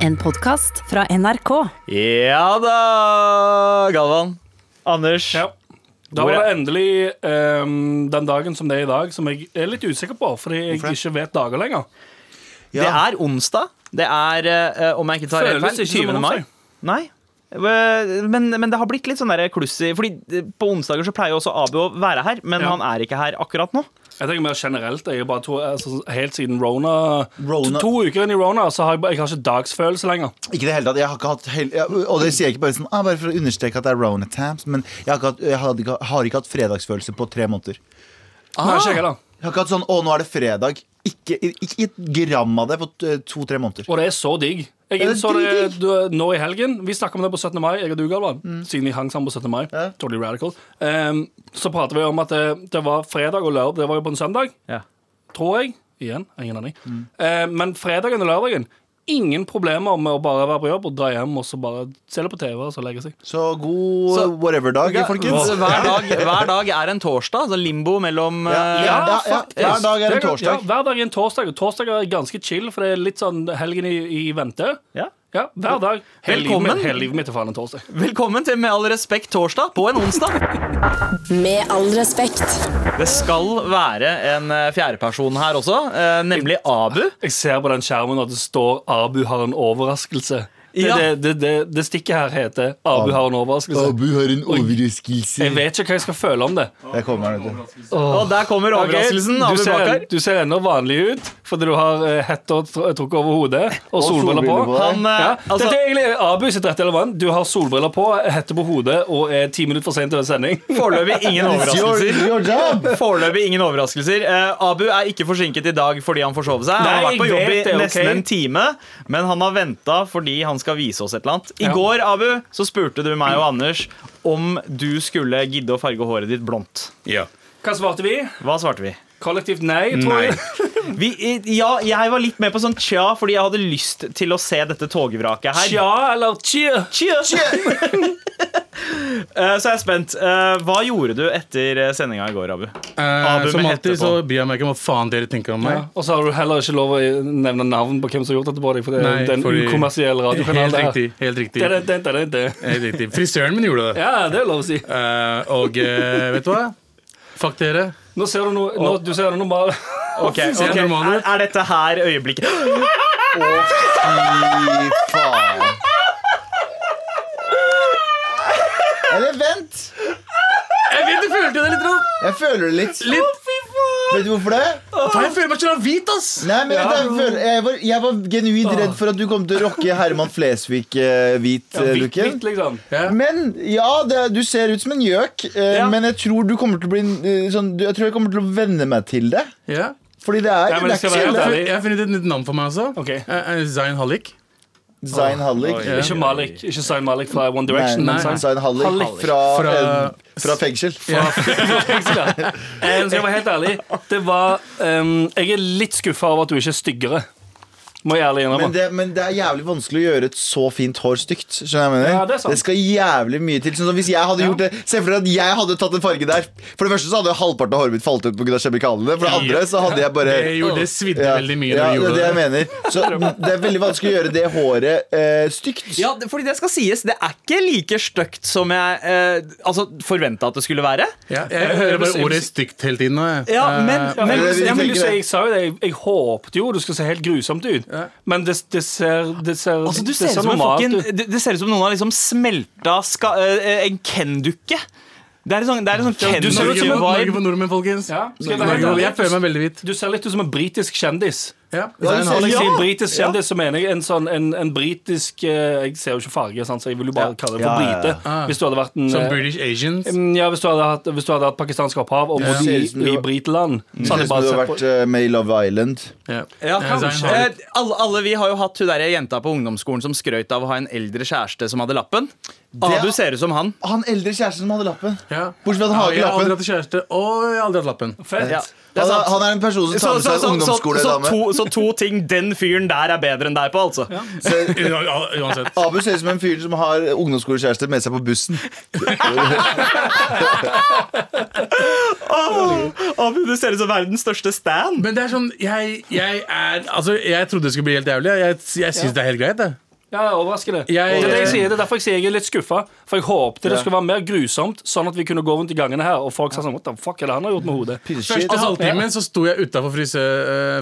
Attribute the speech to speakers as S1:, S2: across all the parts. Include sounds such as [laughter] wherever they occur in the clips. S1: En podkast fra NRK.
S2: Ja da, Galvan. Anders.
S3: Ja. Da
S2: Hvor
S3: var
S2: er-
S3: det endelig ehm, den dagen som det er i dag, som jeg er litt usikker på, fordi jeg
S4: Hvorfor det?
S3: ikke vet dager lenger.
S4: Ja.
S2: Det er onsdag. Det er, eh, om jeg ikke tar helt
S3: Føles
S2: feil,
S3: ikke som
S2: 20.
S3: en
S2: mai.
S3: onsdag.
S2: Nei. Eh, Men, men det har blitt litt sånn der kluss i Fordi eh, på onsdager så pleier jo også Abu å være her, men
S3: Ja.
S2: han er ikke her akkurat nå.
S3: Jeg tenker mer generelt. Jeg er bare to, altså, helt siden rona, To,
S4: Rona.
S3: to uker inn i rona, så har jeg, bare- jeg har ikke dagsfølelse lenger.
S4: Ikke i det hele tatt. Jeg har ikke hatt hel ja, Og det sier jeg ikke bare sånn ah, Bare for å understreke at det er Rona Tams, men jeg har ikke hatt, jeg hadde ikke, har ikke hatt fredagsfølelse på tre måneder. Ah.
S3: Nei, ikke jeg heller.
S4: Jeg har ikke hatt sånn Å, nå er det fredag. Ikke, ikke et gram av det på to-tre måneder.
S3: Og det er så digg. Jeg
S4: Ja, det er
S3: innså det
S4: dritdigg. Mm.
S3: du, nå i helgen. Vi snakka om det på 17. mai, jeg og du, Galvan. Siden vi hang sammen på 17. mai.
S4: Ja.
S3: Totally radical. Ehm, så prater vi om at det, det var fredag og lørdag. Det var jo på en søndag. tror jeg. Igjen, ingen aning. Eh, men fredagen og lørdagen, ingen problemer med å bare være på jobb og dra hjem og så bare se det på TV og så legge seg.
S4: Så god
S2: Så-
S4: whatever-dag,
S2: Ja,
S4: folkens.
S2: Hver dag, hver dag er en torsdag. Så limbo mellom
S4: Ja,
S2: eh,
S4: ja, ja,
S3: faktisk.
S4: Hver dag er
S3: Det
S4: en torsdag.
S3: Ja, hver dag er en torsdag, og torsdag er ganske chill, for det er litt sånn helgen i, i vente.
S2: Ja.
S3: Ja, hver dag. Hele livet
S2: Velkommen.
S3: mitt- hele livet mitt er faen en torsdag.
S2: Velkommen til Med all respekt torsdag på en onsdag.
S5: Med all respekt.
S2: Det skal være en eh, fjerdeperson her også, eh, nemlig Abu.
S3: Jeg ser på den skjermen at det står 'Abu har en overraskelse'. Det,
S2: Ja.
S3: det, det, det, det stikket her heter 'Abu har en overraskelse'.
S4: har en overraskelse.
S3: Jeg vet ikke hva jeg skal føle om det.
S4: Jeg kommer her, vet du.
S2: Og der kommer
S3: Ok,
S2: overraskelsen.
S3: du
S2: Abu
S3: ser,
S2: Bakar.
S3: du ser ennå vanlig ut, fordi du har eh, hette og tr- trukket over hodet og solbriller på.
S4: solbriller på.
S2: Han, eh,
S3: Ja.
S2: altså,
S3: Dette er egentlig Abu sitt rette element. Du har solbriller på, hette på hodet og er ti minutter for sent til sending.
S2: foreløpig
S3: [laughs]
S2: ingen overraskelser.
S4: your
S2: [laughs]
S4: job!
S2: Foreløpig ingen overraskelser. Eh, Abu er ikke forsinket i dag fordi han forsov seg. han har vært
S3: Nei,
S2: på
S3: jeg
S2: jobb i
S3: vet det,
S2: nesten
S3: ok.
S2: en time, men han har venta fordi han skal vise oss et eller annet. I
S3: Ja.
S2: går Abu, så spurte du meg og Anders om du skulle gidde å farge håret ditt blondt.
S3: Hva svarte vi?
S2: Hva svarte vi?
S3: Kollektivt nei, tror jeg.
S2: vi i- ja, jeg var litt med på sånn tja fordi jeg hadde lyst til å se dette togvraket her.
S3: Tja eller tja.
S2: Tja. [laughs] Eh, så jeg er spent. Eh, hva gjorde du etter sendinga i går, Abu?
S6: Eh,
S2: Abu
S6: som
S2: med
S6: alltid
S2: hette
S6: så
S2: på.
S6: bryr jeg meg ikke om hva faen dere tenker om meg.
S3: Ja. Og så har du heller ikke lov å nevne navn på hvem som har gjort dette på deg, for det
S6: Nei,
S3: er en
S6: fordi-
S3: ukommersiell radiokanal.
S6: Helt
S3: det her.
S6: riktig. helt riktig,
S3: Det, er det, det, er det, det. er det.
S6: helt riktig Frisøren min gjorde det.
S3: Ja, det er lov å si.
S6: Eh, og eh, vet du hva? Fuck dere.
S3: Nå ser du noe, nå, du ser noe normal. [laughs]
S2: Ok, ok.
S6: normal ut.
S2: Er, er dette her øyeblikket?
S4: Fy faen. Eller vent.
S6: Jeg vet du følte det litt rått.
S4: Jeg føler det litt. Vet du hvorfor det?
S6: Faen, jeg føler meg så hvit, ass.
S4: Nei, men jeg, jeg, føler, jeg, var, jeg var genuint redd for at du kom til å rocke Herman eh,
S3: Hvitt,
S4: Flesvig-hvit-looken.
S3: hvitt, liksom.
S4: men ja, det, du ser ut som en gjøk, eh,
S3: Ja.
S4: men jeg tror du kommer til å bli eh, sånn, du- Jeg tror jeg kommer til å venne meg til det.
S6: Ja.
S4: Fordi det er,
S3: Ja, men det
S4: det er
S3: skal være-
S4: ikke så ille.
S6: Jeg har- jeg har funnet et nytt navn for meg også.
S3: Ok.
S6: Eh, eh, Zain Hallik.
S4: Zain Hallik.
S2: [gasps]
S6: Ja.
S3: Ikke Malik, ikke Zayn Malik fra One Direction.
S4: Nei,
S3: men Zayn- [laughs]
S4: Zain Hallik
S3: Hallik.
S4: fra,
S6: Fra-
S4: eh, fra fengsel.
S3: Eh, Skal jeg være helt ærlig Det var ehm, Jeg er litt skuffet over at du ikke er styggere Må jeg ærlig
S4: Men
S3: innrømme
S4: det, men det er jævlig vanskelig å gjøre et så fint hår stygt. Skjønner du hva jeg mener?
S3: Ja, det er sant.
S4: skal jævlig mye til. Sånn som hvis jeg hadde gjort det Se for deg at jeg hadde tatt en farge der. For det første så hadde jo halvparten av håret mitt falt ut pga. kjemikalene. For det andre så hadde jeg bare
S6: Det gjorde det svidde
S4: Eh, ja,
S6: veldig mye.
S4: ja,
S6: når
S4: det
S6: du
S4: er
S6: gjorde
S4: det jeg
S6: det.
S4: mener. Så det er veldig vanskelig å gjøre det håret eh, stygt.
S2: Ja, det- fordi det skal sies, det er ikke like støkt som jeg eh, altså, forventa at det skulle være.
S6: Ja, jeg hører bare ordet stygt hele tiden nå. jeg.
S2: Ja, men-
S6: Eh,
S3: men,
S4: det-
S3: ja, men
S4: tenker
S3: du, sier-
S4: det.
S3: jeg sa jo det Jeg, jeg håpet jo det skulle se helt grusomt ut Men det, det ser Det ser,
S2: Altså, du
S3: det
S2: ser ut
S3: ser
S2: som en
S3: normalt
S2: fucking,
S3: ut.
S2: det, det ser ut som noen har liksom smelta ska, eh, en Ken-dukke. Det er en sånn, det er en sånn
S3: du ser ut
S6: Norge,
S3: som en-
S2: Ken-dukke-vibe.
S6: Norge for nordmenn, folkens.
S3: Ja, skal jeg være
S6: Norge,
S3: helt ærlig?
S6: jeg føler meg veldig hvit.
S3: Du ser litt ut som en britisk kjendis
S6: Ja.
S4: Ja, du
S6: Zain
S4: ser-
S3: Når
S6: Hallik.
S3: jeg
S4: Ja.
S3: sier britisk kjendis så mener jeg en sånn En, en britisk eh, Jeg ser jo ikke farge sant, Så jeg vil jo bare kalle det for
S4: Ja, ja, ja.
S3: brite
S2: Ah.
S3: Hvis du hadde vært en
S6: Som
S3: eh,
S6: British Asians.
S3: Mm, Ja, hvis du hadde hatt, hvis du hadde hatt pakistansk opphav og
S4: Ja.
S3: bodd
S4: Ser ut som du
S3: i, i
S4: var-
S3: Briteland
S4: Det
S3: så hadde jeg
S4: ser ut som
S3: bare
S4: du
S3: sett
S4: har
S3: på
S4: vært eh, med i Love Island.
S6: Ja.
S2: Ja,
S6: Eh, Zain
S2: kanskje.
S6: Hallik.
S2: Eh, alle, alle vi har jo hatt hun der jenta på ungdomsskolen som skrøt av å ha en eldre kjæreste som hadde lappen. Abu ser ut som han.
S4: Han eldre kjæresten som hadde lappen.
S6: Ja.
S4: Bortsett fra at han har
S6: Ja,
S4: ikke
S6: jeg har aldri
S4: lappen.
S6: hatt kjæreste, og jeg har aldri hatt lappen.
S3: Fett.
S2: Ja. Det er
S4: Han,
S2: sant.
S4: han er en person som
S2: Så,
S4: tar med
S2: så, så,
S4: seg
S2: så, så,
S4: ungdomsskoledame.
S2: to, så to ting den fyren der er bedre enn deg på, altså.
S4: Så-
S6: Uansett.
S4: Abu ser ut som en fyr som har ungdomsskolekjæreste med seg på bussen.
S2: Abu, du ser ut som verdens største stand.
S6: Men det er sånn, jeg, jeg er Altså, jeg trodde det skulle bli helt jævlig. Jeg, jeg syns det er helt greit, det.
S3: Ja, det er overraskende.
S6: Jeg-
S3: det, er det, jeg sier, det er derfor jeg sier jeg er litt skuffa. For jeg håpte det skulle være mer grusomt, sånn at vi kunne gå rundt i gangene her, og folk sa sånn What the fuck er det han har gjort med hodet?
S6: Første
S4: altså.
S6: halvtimen så sto jeg utafor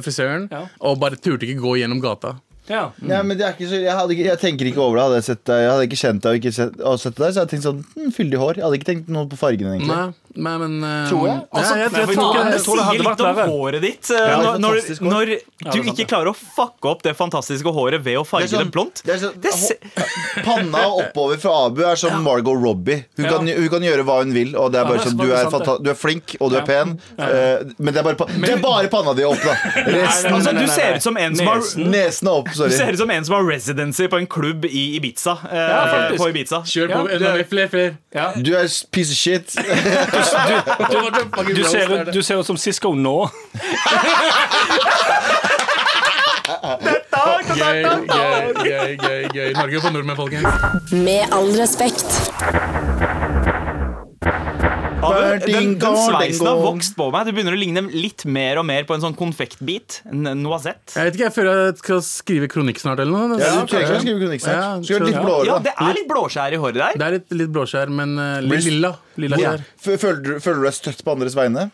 S6: frisøren
S3: Ja.
S6: og bare turte ikke gå gjennom gata.
S3: Ja.
S4: Ja, men det er ikke så, jeg, hadde ikke, jeg tenker ikke over det. Hadde jeg, sett, deg- jeg hadde ikke kjent deg og ikke sett, og sett deg der, så hadde jeg tenkt sånn hm, Fyldig hår. Jeg hadde ikke tenkt noe på fargene, egentlig.
S6: Nei, nei, men eh,
S4: Tror jeg? Altså,
S6: ja, jeg, jeg,
S3: Nei, for
S6: tror
S3: faen,
S6: ikke-
S3: det
S2: det
S6: jeg tror
S3: det
S2: sier
S3: hadde
S2: litt
S3: vært
S2: om
S3: verre.
S2: håret ditt. eh,
S4: det er
S2: Når, når,
S4: fantastisk hår.
S2: når
S3: er
S2: du
S3: sant,
S2: ikke klarer å fucke opp det fantastiske håret ved å farge
S4: Det er sånn-
S2: det blondt.
S4: det er sånn-
S2: Det se-
S4: Panna oppover fra Abu er som Margot Robbie. Hun,
S3: Ja.
S4: kan, hun kan gjøre hva hun vil, og det er
S3: Ja,
S4: bare
S3: det er
S4: sånn
S3: sant,
S4: Du
S3: det er
S4: er,
S3: sant,
S4: fanta- du er flink, og du er pen, eh, men det er bare, pa det er bare panna di opp, da.
S3: nei,
S4: Resten,
S3: nei,
S2: altså,
S3: nei,
S2: du
S3: nei, nei.
S2: ser ut som en som har
S3: Nesen.
S4: Nesen er opp,
S2: du ser
S4: sorry.
S2: ut som en som har residency på en klubb i Ibiza. Eh,
S3: faktisk.
S2: på Ibiza.
S6: Kjør på.
S3: Ja,
S6: enda mer, Fler, fler.
S3: Ja.
S4: Du er s- piece of shit.
S3: Du, ser ut, du ser ut som Cisco nå.
S6: Gøy, gøy, gøy, gøy, gøy. Norge for nordmenn, folkens.
S5: Med all respekt.
S2: Abu, Den,
S4: Ding
S2: den
S4: dong,
S2: sveisen har
S4: ding dong.
S2: vokst på meg. Det begynner å ligne litt mer og mer på en sånn konfektbit. En noisette.
S6: Jeg vet ikke, jeg føler jeg skal skrive kronikk snart eller noe.
S4: Ja, du trenger ikke å skrive kronikk
S6: Ja,
S4: snart. Skal gjøre litt
S6: skjønner.
S4: blåere,
S2: Ja,
S4: da.
S2: det er litt blåskjær i håret der.
S6: Det er litt, litt blåskjær, men eh, litt lilla. Lilla
S4: Hvor-
S6: skjær.
S4: F- Føler du, føler du deg støtt på andres vegne?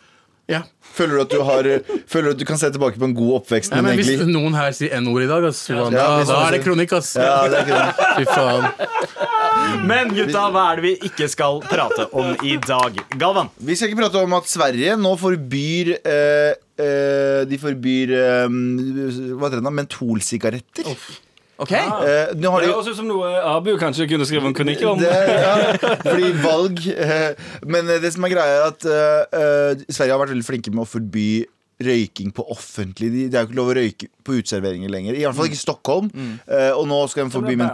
S6: Ja.
S4: Føler du at du, [laughs] har, føler du at du kan se tilbake på en god oppvekst?
S6: Nei,
S4: din,
S6: men hvis
S4: egentlig?
S6: noen her sier N-ord i dag, ass, fy faen, da,
S4: Ja, hvis
S6: da
S4: noen
S6: er det
S4: sier-
S6: kronikk, ass.
S4: ja, det er ikke det.
S6: [laughs] Fy faen.
S2: Men gutta, hva er det vi ikke skal prate om i dag? Galvan.
S4: Vi skal ikke prate om at Sverige nå forbyr eh, eh, De forbyr eh, Hva heter det da? Mentolsigaretter.
S2: Ok?
S4: Eh, nå har
S3: Det
S4: de
S3: høres ut som noe eh, Abu kanskje kunne skrive en kronikk om.
S4: det, ja, fordi valg eh, Men det som er greia, er at eh, eh, Sverige har vært veldig flinke med å forby røyking på offentlig. De- Det er jo ikke lov å røyke på uteserveringer lenger. I alle fall ikke i Stockholm.
S3: Mm.
S4: Eh, og nå skal de forby
S3: blir bare,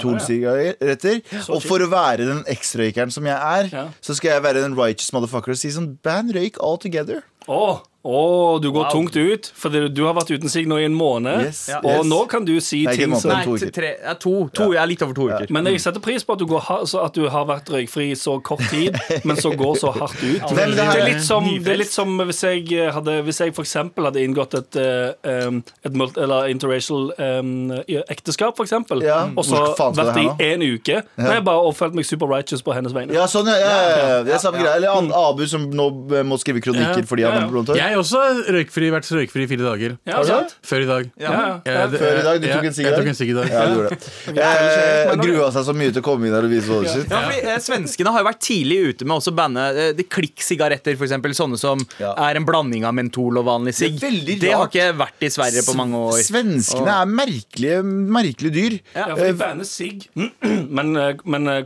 S4: mentolsigaretter. Og for å være den eksrøykeren som jeg er,
S3: Ja.
S4: så skal jeg være den righteous motherfucker og si sånn Ban røyk all together.
S3: Å, å, du går tungt ut, for du, du har vært uten sigg nå i en måned.
S4: Yes, Ja.
S3: Og
S4: yes.
S3: nå kan du si
S4: Nei, ikke en
S3: ting
S4: måned.
S3: som
S4: Nei, to uker.
S2: tre, ja, to, to, Jeg er litt over to uker.
S3: Men jeg setter pris på at du, går, ha- så at du har vært røykfri i så kort tid, men så går så hardt ut.
S4: men det
S3: det,
S4: her-
S3: er litt som, det er litt som hvis jeg, eh, hadde, hvis jeg for eksempel hadde inngått et, eh, em, et mult, eller interracial em, i- ekteskap, for eksempel,
S4: Ja,
S3: og så
S4: hvor faen skal
S3: vært
S4: det
S3: det
S4: her
S3: i en uke, men jeg bare oppfølte meg super righteous på hennes vegne.
S4: Ja, sånn, ja. ja, ja, ja. Det er samme greie. Eller an- Abu som nå eh, må skrive kronikker
S6: Ja,
S4: fordi han
S3: Mm. ja,
S4: har
S3: ja.
S4: blondt hår.
S6: Jeg er også røykfri, vært røykfri i fire dager.
S3: Ja, sant?
S6: Før i dag.
S3: Ja, ja.
S6: Jeg- det-
S4: Før i dag, du tok en
S6: jeg-
S4: sigg i
S6: Jeg
S4: dag?
S6: tok en sigg i dag.
S4: Ja, du gjorde det. Eh, grua seg så mye til å komme inn her og vise hodet sitt.
S2: Ja, fordi, eh, svenskene har jo vært tidlig ute med også å banne eh, de klikksigaretter, f.eks. Sånne som
S4: Ja.
S2: er en blanding av mentol og vanlig sigg.
S4: Det er veldig
S2: Det har
S4: rart.
S2: ikke vært i Sverige på mange år.
S4: Svenskene er merkelige, merkelige dyr.
S3: Ja,
S4: Eh,
S3: for de banner sigg, [clears throat] men, eh, men eh,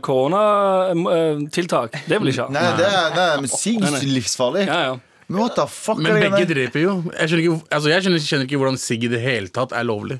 S3: koronatiltak, det vil jeg ikke ha.
S4: Nei, det er, nei, men sigg
S3: nei.
S4: livsfarlig.
S3: Ja, ja.
S4: Men what the fuck
S6: Men
S4: er det
S6: begge
S4: greiene der?
S6: dreper jo. Jeg skjønner ikke, altså jeg skjønner, skjønner ikke hvordan sigg i det hele tatt er lovlig.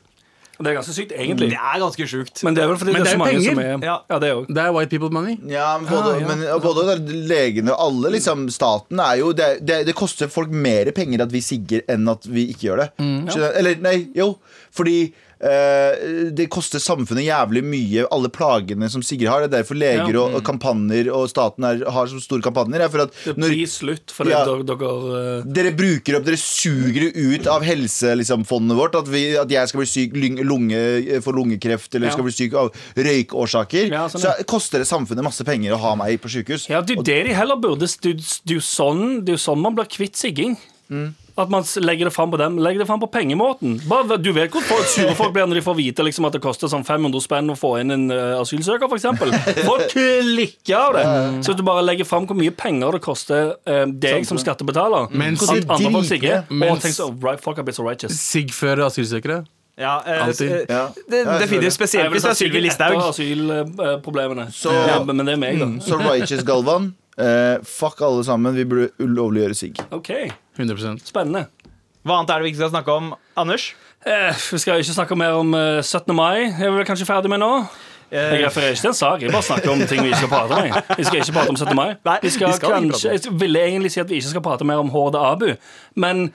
S3: Det er ganske sykt, egentlig.
S2: Det er ganske sjukt.
S3: Men det er vel fordi
S6: Men
S3: det er så
S6: det er
S3: mange
S6: jo
S3: som
S6: penger.
S3: er Ja, det er jo.
S6: Det er white people money.
S4: ja, men både,
S3: Ah,
S4: men, og både der, legene og alle, liksom, staten er jo det, det, det koster folk mer penger at vi sigger enn at vi ikke gjør det.
S3: Mm.
S4: Skjønner- Eller, nei, jo. Fordi eh, det koster samfunnet jævlig mye, alle plagene som sigger har. Det er derfor leger
S3: Ja. Mm.
S4: og, og kampanjer og staten er, har så store kampanjer. Er for at
S3: Det
S4: når-
S3: blir slutt fordi
S4: Ja.
S3: dere, dere eh,
S4: dere bruker opp, dere suger det ut av helsefondet liksom, fondet vårt. At, vi, at jeg skal bli syk lyng- lunge, for lungekreft eller
S3: Ja.
S4: skal bli syk av røykårsaker.
S3: Ja, sånn,
S4: så
S3: ja.
S4: koster det samfunnet masse penger å ha meg på sykehus.
S3: Ja, det er jo det de heller burde Det er jo- det er jo sånn, det er jo sånn man blir kvitt sigging. At man s- legger det fram på dem. Legger det fram på pengemåten. Bare, du vet hvor folk, sure folk blir når de får vite liksom, at det koster sånn 500 spenn å få inn en eh, asylsøker, f.eks.
S4: [laughs]
S3: Folk klikker av det. Så hvis du bare legger fram hvor mye penger det koster eh, deg som skattebetaler,
S6: Mens-
S3: at andre folk sigger, og
S6: Mens-
S3: tenker sånn right, Fuck, I've been so righteous.
S6: Sigg før asylsøkere.
S2: Ja, eh,
S6: Alltid.
S2: eh,
S4: Ja.
S2: Det,
S4: Ja, jeg
S2: definitivt spesielt hvis det
S3: sånn
S2: er Sylvi Listhaug.
S3: Asylproblemene.
S4: Så-
S3: eh, ja, men men det er meg, da.
S4: Så righteous Galvan. eh, fuck alle sammen, vi burde ulovliggjøre sigg.
S3: OK,
S6: 100
S3: spennende.
S2: Hva annet er det vi ikke skal snakke om? Anders?
S3: Eh, vi skal ikke snakke mer om eh, 17. mai. Er vi vel kanskje ferdig med nå? Jeg refererer ikke til en sak. Jeg bare snakker om ting vi ikke skal prate om. jeg. Vi skal ikke prate om 17. mai.
S2: Nei, vi
S3: Vi skal
S2: skal ikke prate om
S3: kanskje,
S2: det.
S3: jeg ville egentlig si at vi ikke skal prate mer om Horde Abu, men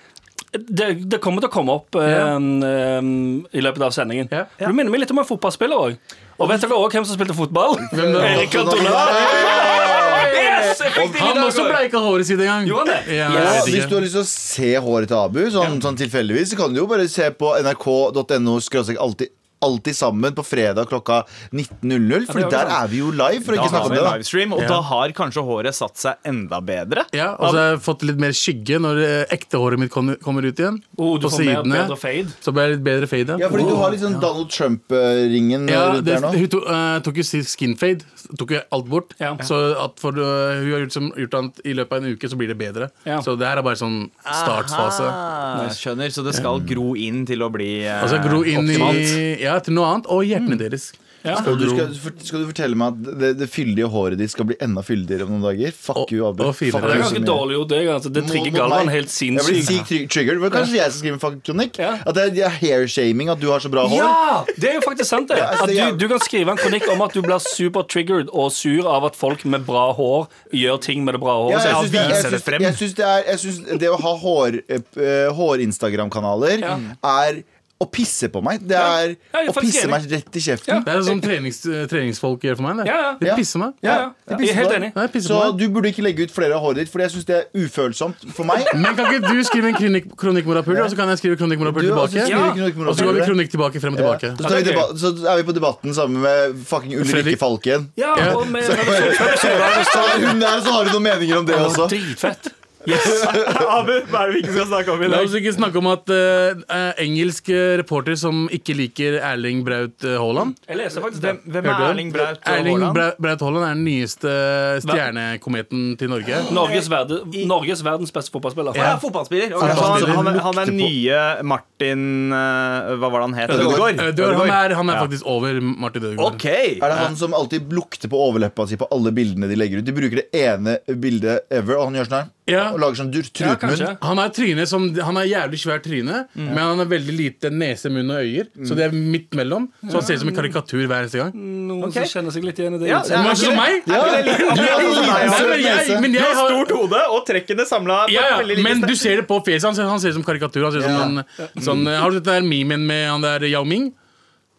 S3: det, det kommer til å komme opp eh,
S6: Ja.
S3: em, i løpet av sendingen.
S6: Ja.
S3: Du minner meg litt om en fotballspiller òg. Og vet dere òg hvem som spilte fotball?
S6: Hvem da?
S3: Erik Cantona. Yes, jeg fikk det i
S6: Han
S3: dag
S6: også
S3: også.
S6: bleika håret sitt en gang.
S3: Gjorde han det?
S6: Ja,
S4: Ja,
S6: jeg
S4: hvis
S6: vet
S4: du
S6: ikke.
S4: har lyst til å se håret til Abu, sånn, sånn tilfeldigvis, så kan du jo bare se på nrk.no. alltid alltid sammen på fredag klokka 19.00. For
S3: Ja, det er jo
S4: der
S3: sant.
S4: er vi jo live, for å
S2: Da
S4: ikke
S2: har
S4: snakke om
S2: vi
S4: det. da
S2: livestream, og da har kanskje håret satt seg enda bedre.
S6: Ja, og så har jeg fått litt mer skygge når eh, ekte håret mitt kom- kommer ut igjen.
S3: Oh, du
S6: på
S3: får mer,
S6: sidene.
S3: bedre fade.
S6: Så ble jeg litt bedre fade.
S4: Ja, fordi du har litt sånn Donald Trump-ringen
S6: Ja,
S4: rundt
S6: det,
S4: der nå.
S6: hun to, eh, tok jo sist skinfade. Tok jo alt bort.
S3: Ja.
S6: Så at for, eh, hun har gjort, som, gjort annet i løpet av en uke, så blir det bedre.
S3: Ja.
S6: Så det her er bare sånn startfase.
S2: Ah, skjønner, Så det skal gro inn til å bli eh,
S6: Altså gro inn
S2: optimalt.
S6: i ja, til noe annet, og hjertene
S3: Mm.
S6: deres.
S3: Ja.
S4: Og du skal, for- skal du fortelle meg at det, det fyldige håret ditt skal bli enda fyldigere om noen dager? Fuck
S6: Og-
S4: you, Abu.
S6: og finere.
S4: Fuck
S3: Ja, det er
S4: you så
S3: ganske
S4: mye.
S3: dårlig gjort, det. Altså. Det
S4: Må-
S3: trigger
S4: mot
S3: Galvan
S4: meg.
S3: helt
S4: Jeg blir
S3: sinnssykt.
S4: sykt tri- triggered. Det var kanskje jeg som skriver fuck kronikk?
S3: Ja.
S4: At det er- det er hair-shaming at du har så bra hår?
S3: Ja! Det er jo faktisk sant, det.
S4: altså,
S3: At
S4: jeg-
S3: du, du kan skrive en kronikk om at du blir super triggered og sur av at folk med bra hår gjør ting med det bra håret.
S4: Ja, jeg
S3: sitt.
S4: syns det, jeg
S2: viser det
S4: syns-
S2: frem.
S4: jeg syns det, er- jeg syns det å ha hår, eh, hår-Instagram-kanaler
S3: Ja.
S4: er å pisse på meg. Det er
S3: Ja, jeg er
S4: å
S3: faktisk
S4: pisse
S3: enig.
S4: meg rett i kjeften.
S6: Det er sånn trenings, treningsfolk gjør for meg.
S3: Ja,
S6: Det.
S3: ja.
S6: De
S4: Ja.
S6: pisser meg.
S3: Ja, ja.
S4: Jeg
S3: Jeg er
S4: pisser på
S3: helt
S4: deg.
S3: enig.
S6: Nei, jeg pisser på
S4: Så
S6: meg.
S4: du burde ikke legge ut flere av håret ditt, for jeg syns det er ufølsomt for
S6: [laughs]
S4: meg.
S6: Men kan ikke du skrive en kronikk, kronikk og så kan jeg skrive kronikk
S4: Du, og så
S6: tilbake?
S4: skriver
S3: Ja.
S4: Knut Moran
S6: Og så går vi
S4: Fjellre.
S6: kronikk tilbake, frem og
S4: Så,
S6: tilbake.
S4: tar vi
S3: Ja, det er
S4: deba- så er vi på debatten sammen med fucking Ulrikke
S6: Fredrik.
S4: Falken.
S3: Ja,
S6: Ja.
S3: og med, når det så- så-
S4: [laughs] Så er hun der, så har hun noen meninger om det også.
S3: Dritfett.
S2: Abu, hva er det vi ikke skal snakke om i
S6: La
S2: dag?
S6: oss ikke snakke om at eh, eh, engelsk eh, reporter som ikke liker Erling Braut eh, Haaland
S3: Jeg leser faktisk
S2: Hvem,
S3: det.
S2: hvem er
S6: Hørte du?
S2: Erling Braut
S6: Erling
S2: Haaland?
S6: Bra- Braut Haaland er den nyeste stjernekometen til Norge.
S3: Norges, verde, Norges verdens beste fotballspiller.
S2: Ja, fotballspiller. Ok,
S6: Ja,
S2: så han, han,
S6: fotballspiller.
S2: han er nye Martin eh, Hva var det han het? Ødegaard.
S6: Eh, Ødegaard, han er, han er
S2: Ja.
S6: faktisk over Martin Ødegaard.
S2: Ok!
S4: Er det han som alltid lukter på overleppa si på alle bildene de legger ut? De bruker det ene bildet ever, og han gjør sånn her.
S6: Ja.
S4: Og lager sånn dur-
S3: Ja,
S4: trutmunn.
S3: kanskje.
S6: Han er tryne som, han er jævlig svært tryne,
S2: Mm.
S6: men han har veldig lite nese, munn og øyer. Så det er midt mellom. Så han ser ut som en karikatur hver eneste gang.
S3: Noen
S2: Ok.
S3: som kjenner seg litt igjen i det.
S2: Ja,
S3: utseendet.
S2: ja.
S6: Men han er
S2: ikke
S6: sånn som meg!
S4: Ja,
S2: Er ikke det litt-
S4: du har en
S6: Nei,
S4: liten søt
S6: men jeg,
S4: nese.
S6: men jeg har
S2: Stort hode og trekkene samla på
S6: ja,
S2: et
S6: ja,
S2: veldig lite
S6: men du
S2: sted.
S6: ser det på fjeset. Han ser, han ser ut som karikatur. Han ser ut som
S4: Ja.
S6: en, sånn, eh, har du sett den der memen med han der Yao Ming?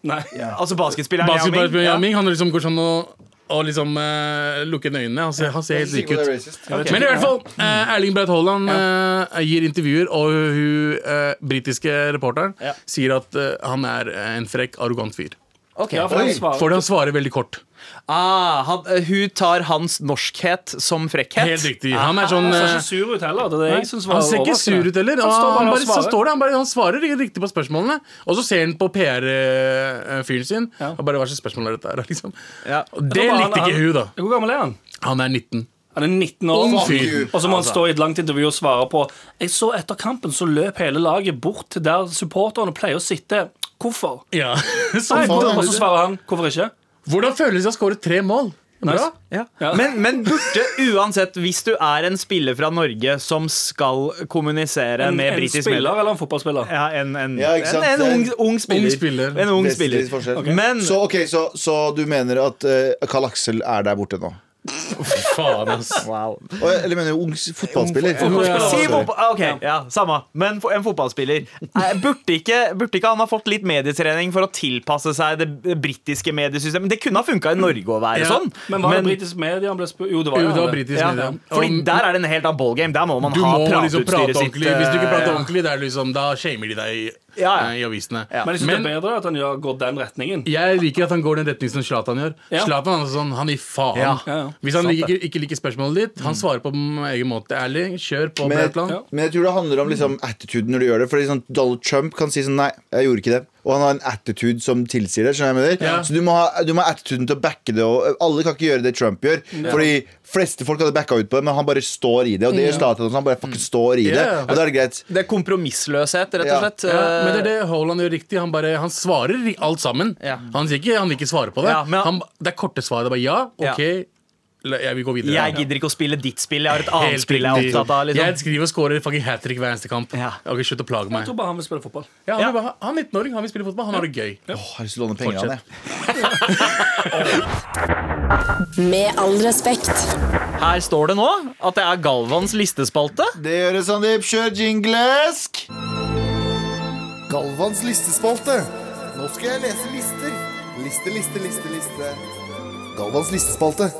S3: Nei.
S2: Altså basketspilleren Yao Ming.
S6: Basketballspilleren
S2: Ja.
S6: Yao Ming. Han liksom går sånn og, og liksom eh, lukker øynene. Han ser, han ser helt lik
S4: Det er
S6: ut.
S4: racist.
S2: Ok.
S6: Men i hvert fall, eh, Erling Braut Haaland eh, gir intervjuer, og hun eh, britiske reporteren
S2: Ja.
S6: sier at eh, han er en frekk, arrogant fyr.
S2: Ok.
S3: Ja, for han
S4: Oi.
S3: svarer.
S6: Fordi han svarer veldig kort.
S2: Ah, han, eh, hun tar hans norskhet som frekkhet.
S6: Helt riktig. Han er
S3: Han
S6: sånn
S3: ser
S6: eh,
S3: ikke sur ut heller. Det er jeg som svarer
S6: han ser ikke
S3: overraskende.
S6: sur ut heller.
S3: Han
S6: Han,
S3: står bare
S6: han,
S3: og
S6: bare, så
S3: svarer.
S6: står det, han, bare, han svarer ikke riktig på spørsmålene. Og så ser han på PR-fyren sin.
S3: Ja.
S6: Og bare hva slags spørsmål er dette her, liksom.
S2: Ja.
S6: Og det
S3: Jeg tror bare
S6: likte
S3: han-
S6: ikke hun, da.
S3: Hvor gammel er han?
S6: Han er 19.
S3: Han er 19 år.
S6: Ung fyr.
S3: Og så må han stå i et langt intervju og svare på Jeg så etter kampen så løp hele laget bort til der supporterne pleier å sitte. Hvorfor?
S6: Ja. [laughs] Så,
S3: Nei,
S4: faen.
S3: og så svarer han hvorfor ikke.
S6: hvordan føles det å skåre tre mål? Bra.
S3: Nice.
S2: Ja.
S3: Ja.
S2: Men, men burde uansett, hvis du er en spiller fra Norge som skal kommunisere
S3: En,
S2: med
S3: en
S2: britisk
S3: spiller
S2: medie
S3: eller en fotballspiller?
S2: ja, en, en,
S4: Ja, ikke
S2: en,
S4: sant?
S2: en ung, ung, spiller.
S6: Ung spiller.
S2: En ung spiller.
S4: Vesentlig forskjell.
S2: Men
S4: Så, ok, så, så du mener at eh, Karl Aksel er der borte nå?
S3: [laughs]
S6: Faen, ass.
S2: Wow.
S4: Og, eller mener du ung s- fotballspiller?
S3: fotballspiller.
S2: Si
S4: Sorry.
S2: fotball- ah, ok, ja, samme. Men fo- en fotballspiller. Eh, Burde ikke, burde ikke han ha fått litt medietrening for å tilpasse seg det b- britiske mediesystemet? Det kunne ha funka i Norge å være
S6: Ja,
S2: sånn.
S3: Men var det britisk medie han ble spurt Jo, det var jo
S6: Jo, det var
S3: han, det.
S6: britisk
S2: ja,
S6: media.
S2: fordi
S6: Og
S2: der er det en helt annen ballgame. Der må man
S6: Du
S2: ha
S6: må liksom prate
S2: prateutstyret sitt.
S6: ordentlig. Hvis du ikke prater
S2: eh,
S6: ordentlig, det er liksom, da shamer de deg i,
S2: Ja, ja.
S6: eh, i avisene.
S2: Ja.
S3: Men jeg synes
S6: Men-
S3: det er bedre at han gjør, går den retningen.
S6: Jeg liker at han går den retningen som Zlatan gjør.
S3: Ja.
S6: Zlatan han er sånn, han gir faen.
S2: Ja.
S3: Ja, ja. Mm.
S6: Hvis han
S2: Sant
S6: liker, ikke liker spørsmålet ditt, han svarer på m- egen måte. Ærlig, kjør på
S4: Men,
S6: med et
S4: jeg-
S6: eller annet.
S4: men jeg tror det handler om liksom, attituden når du gjør det. Fordi sånn, Donald Trump kan si sånn Nei, jeg gjorde ikke det. Og han har en attitude som tilsier det. skjønner jeg med
S6: Ja.
S4: Så du må, ha, du må ha attituden til å backe det. Og alle kan ikke gjøre det Trump gjør. Fordi fleste folk hadde backa ut på det, men han bare står i det. Og det gjør Zlatan også. Han bare fucking står i det.
S6: Ja.
S4: Og da er det greit.
S2: Det er kompromissløshet, rett
S4: Ja.
S2: og slett.
S6: Ja, men det er det Haaland gjør riktig. Han, bare, han svarer i alt sammen.
S2: eh, Ja.
S6: Han, sier ikke, han vil ikke svare på det.
S2: Ja, men han-
S6: han, det er korte svar. Det er bare ja,
S2: Ja.
S6: ok, la- jeg vil gå videre.
S2: Jeg gidder ikke å spille ditt spill. Jeg har et annet
S6: Helt
S2: spill jeg
S6: riktig.
S2: er opptatt av.
S6: Jeg
S2: Liksom.
S6: skriver og scorer fucking hat trick hver eneste kamp.
S2: Ja.
S6: Ok, Slutt å
S3: Jeg
S6: plage meg.
S3: tror bare han vil spille fotball.
S6: Ja, han,
S2: Ja.
S6: vil bare ha- han er 19-åring, han vil spille fotball, han har det gøy.
S4: Åh, jeg har lyst til å låne penger av han, jeg.
S5: Med all respekt.
S2: Her står det nå at det er Galvans listespalte.
S4: Det gjør det, Sandeep. Kjør jinglesk! Galvans listespalte. Nå skal jeg lese lister. Liste, liste, liste, liste. Galvans listespalte.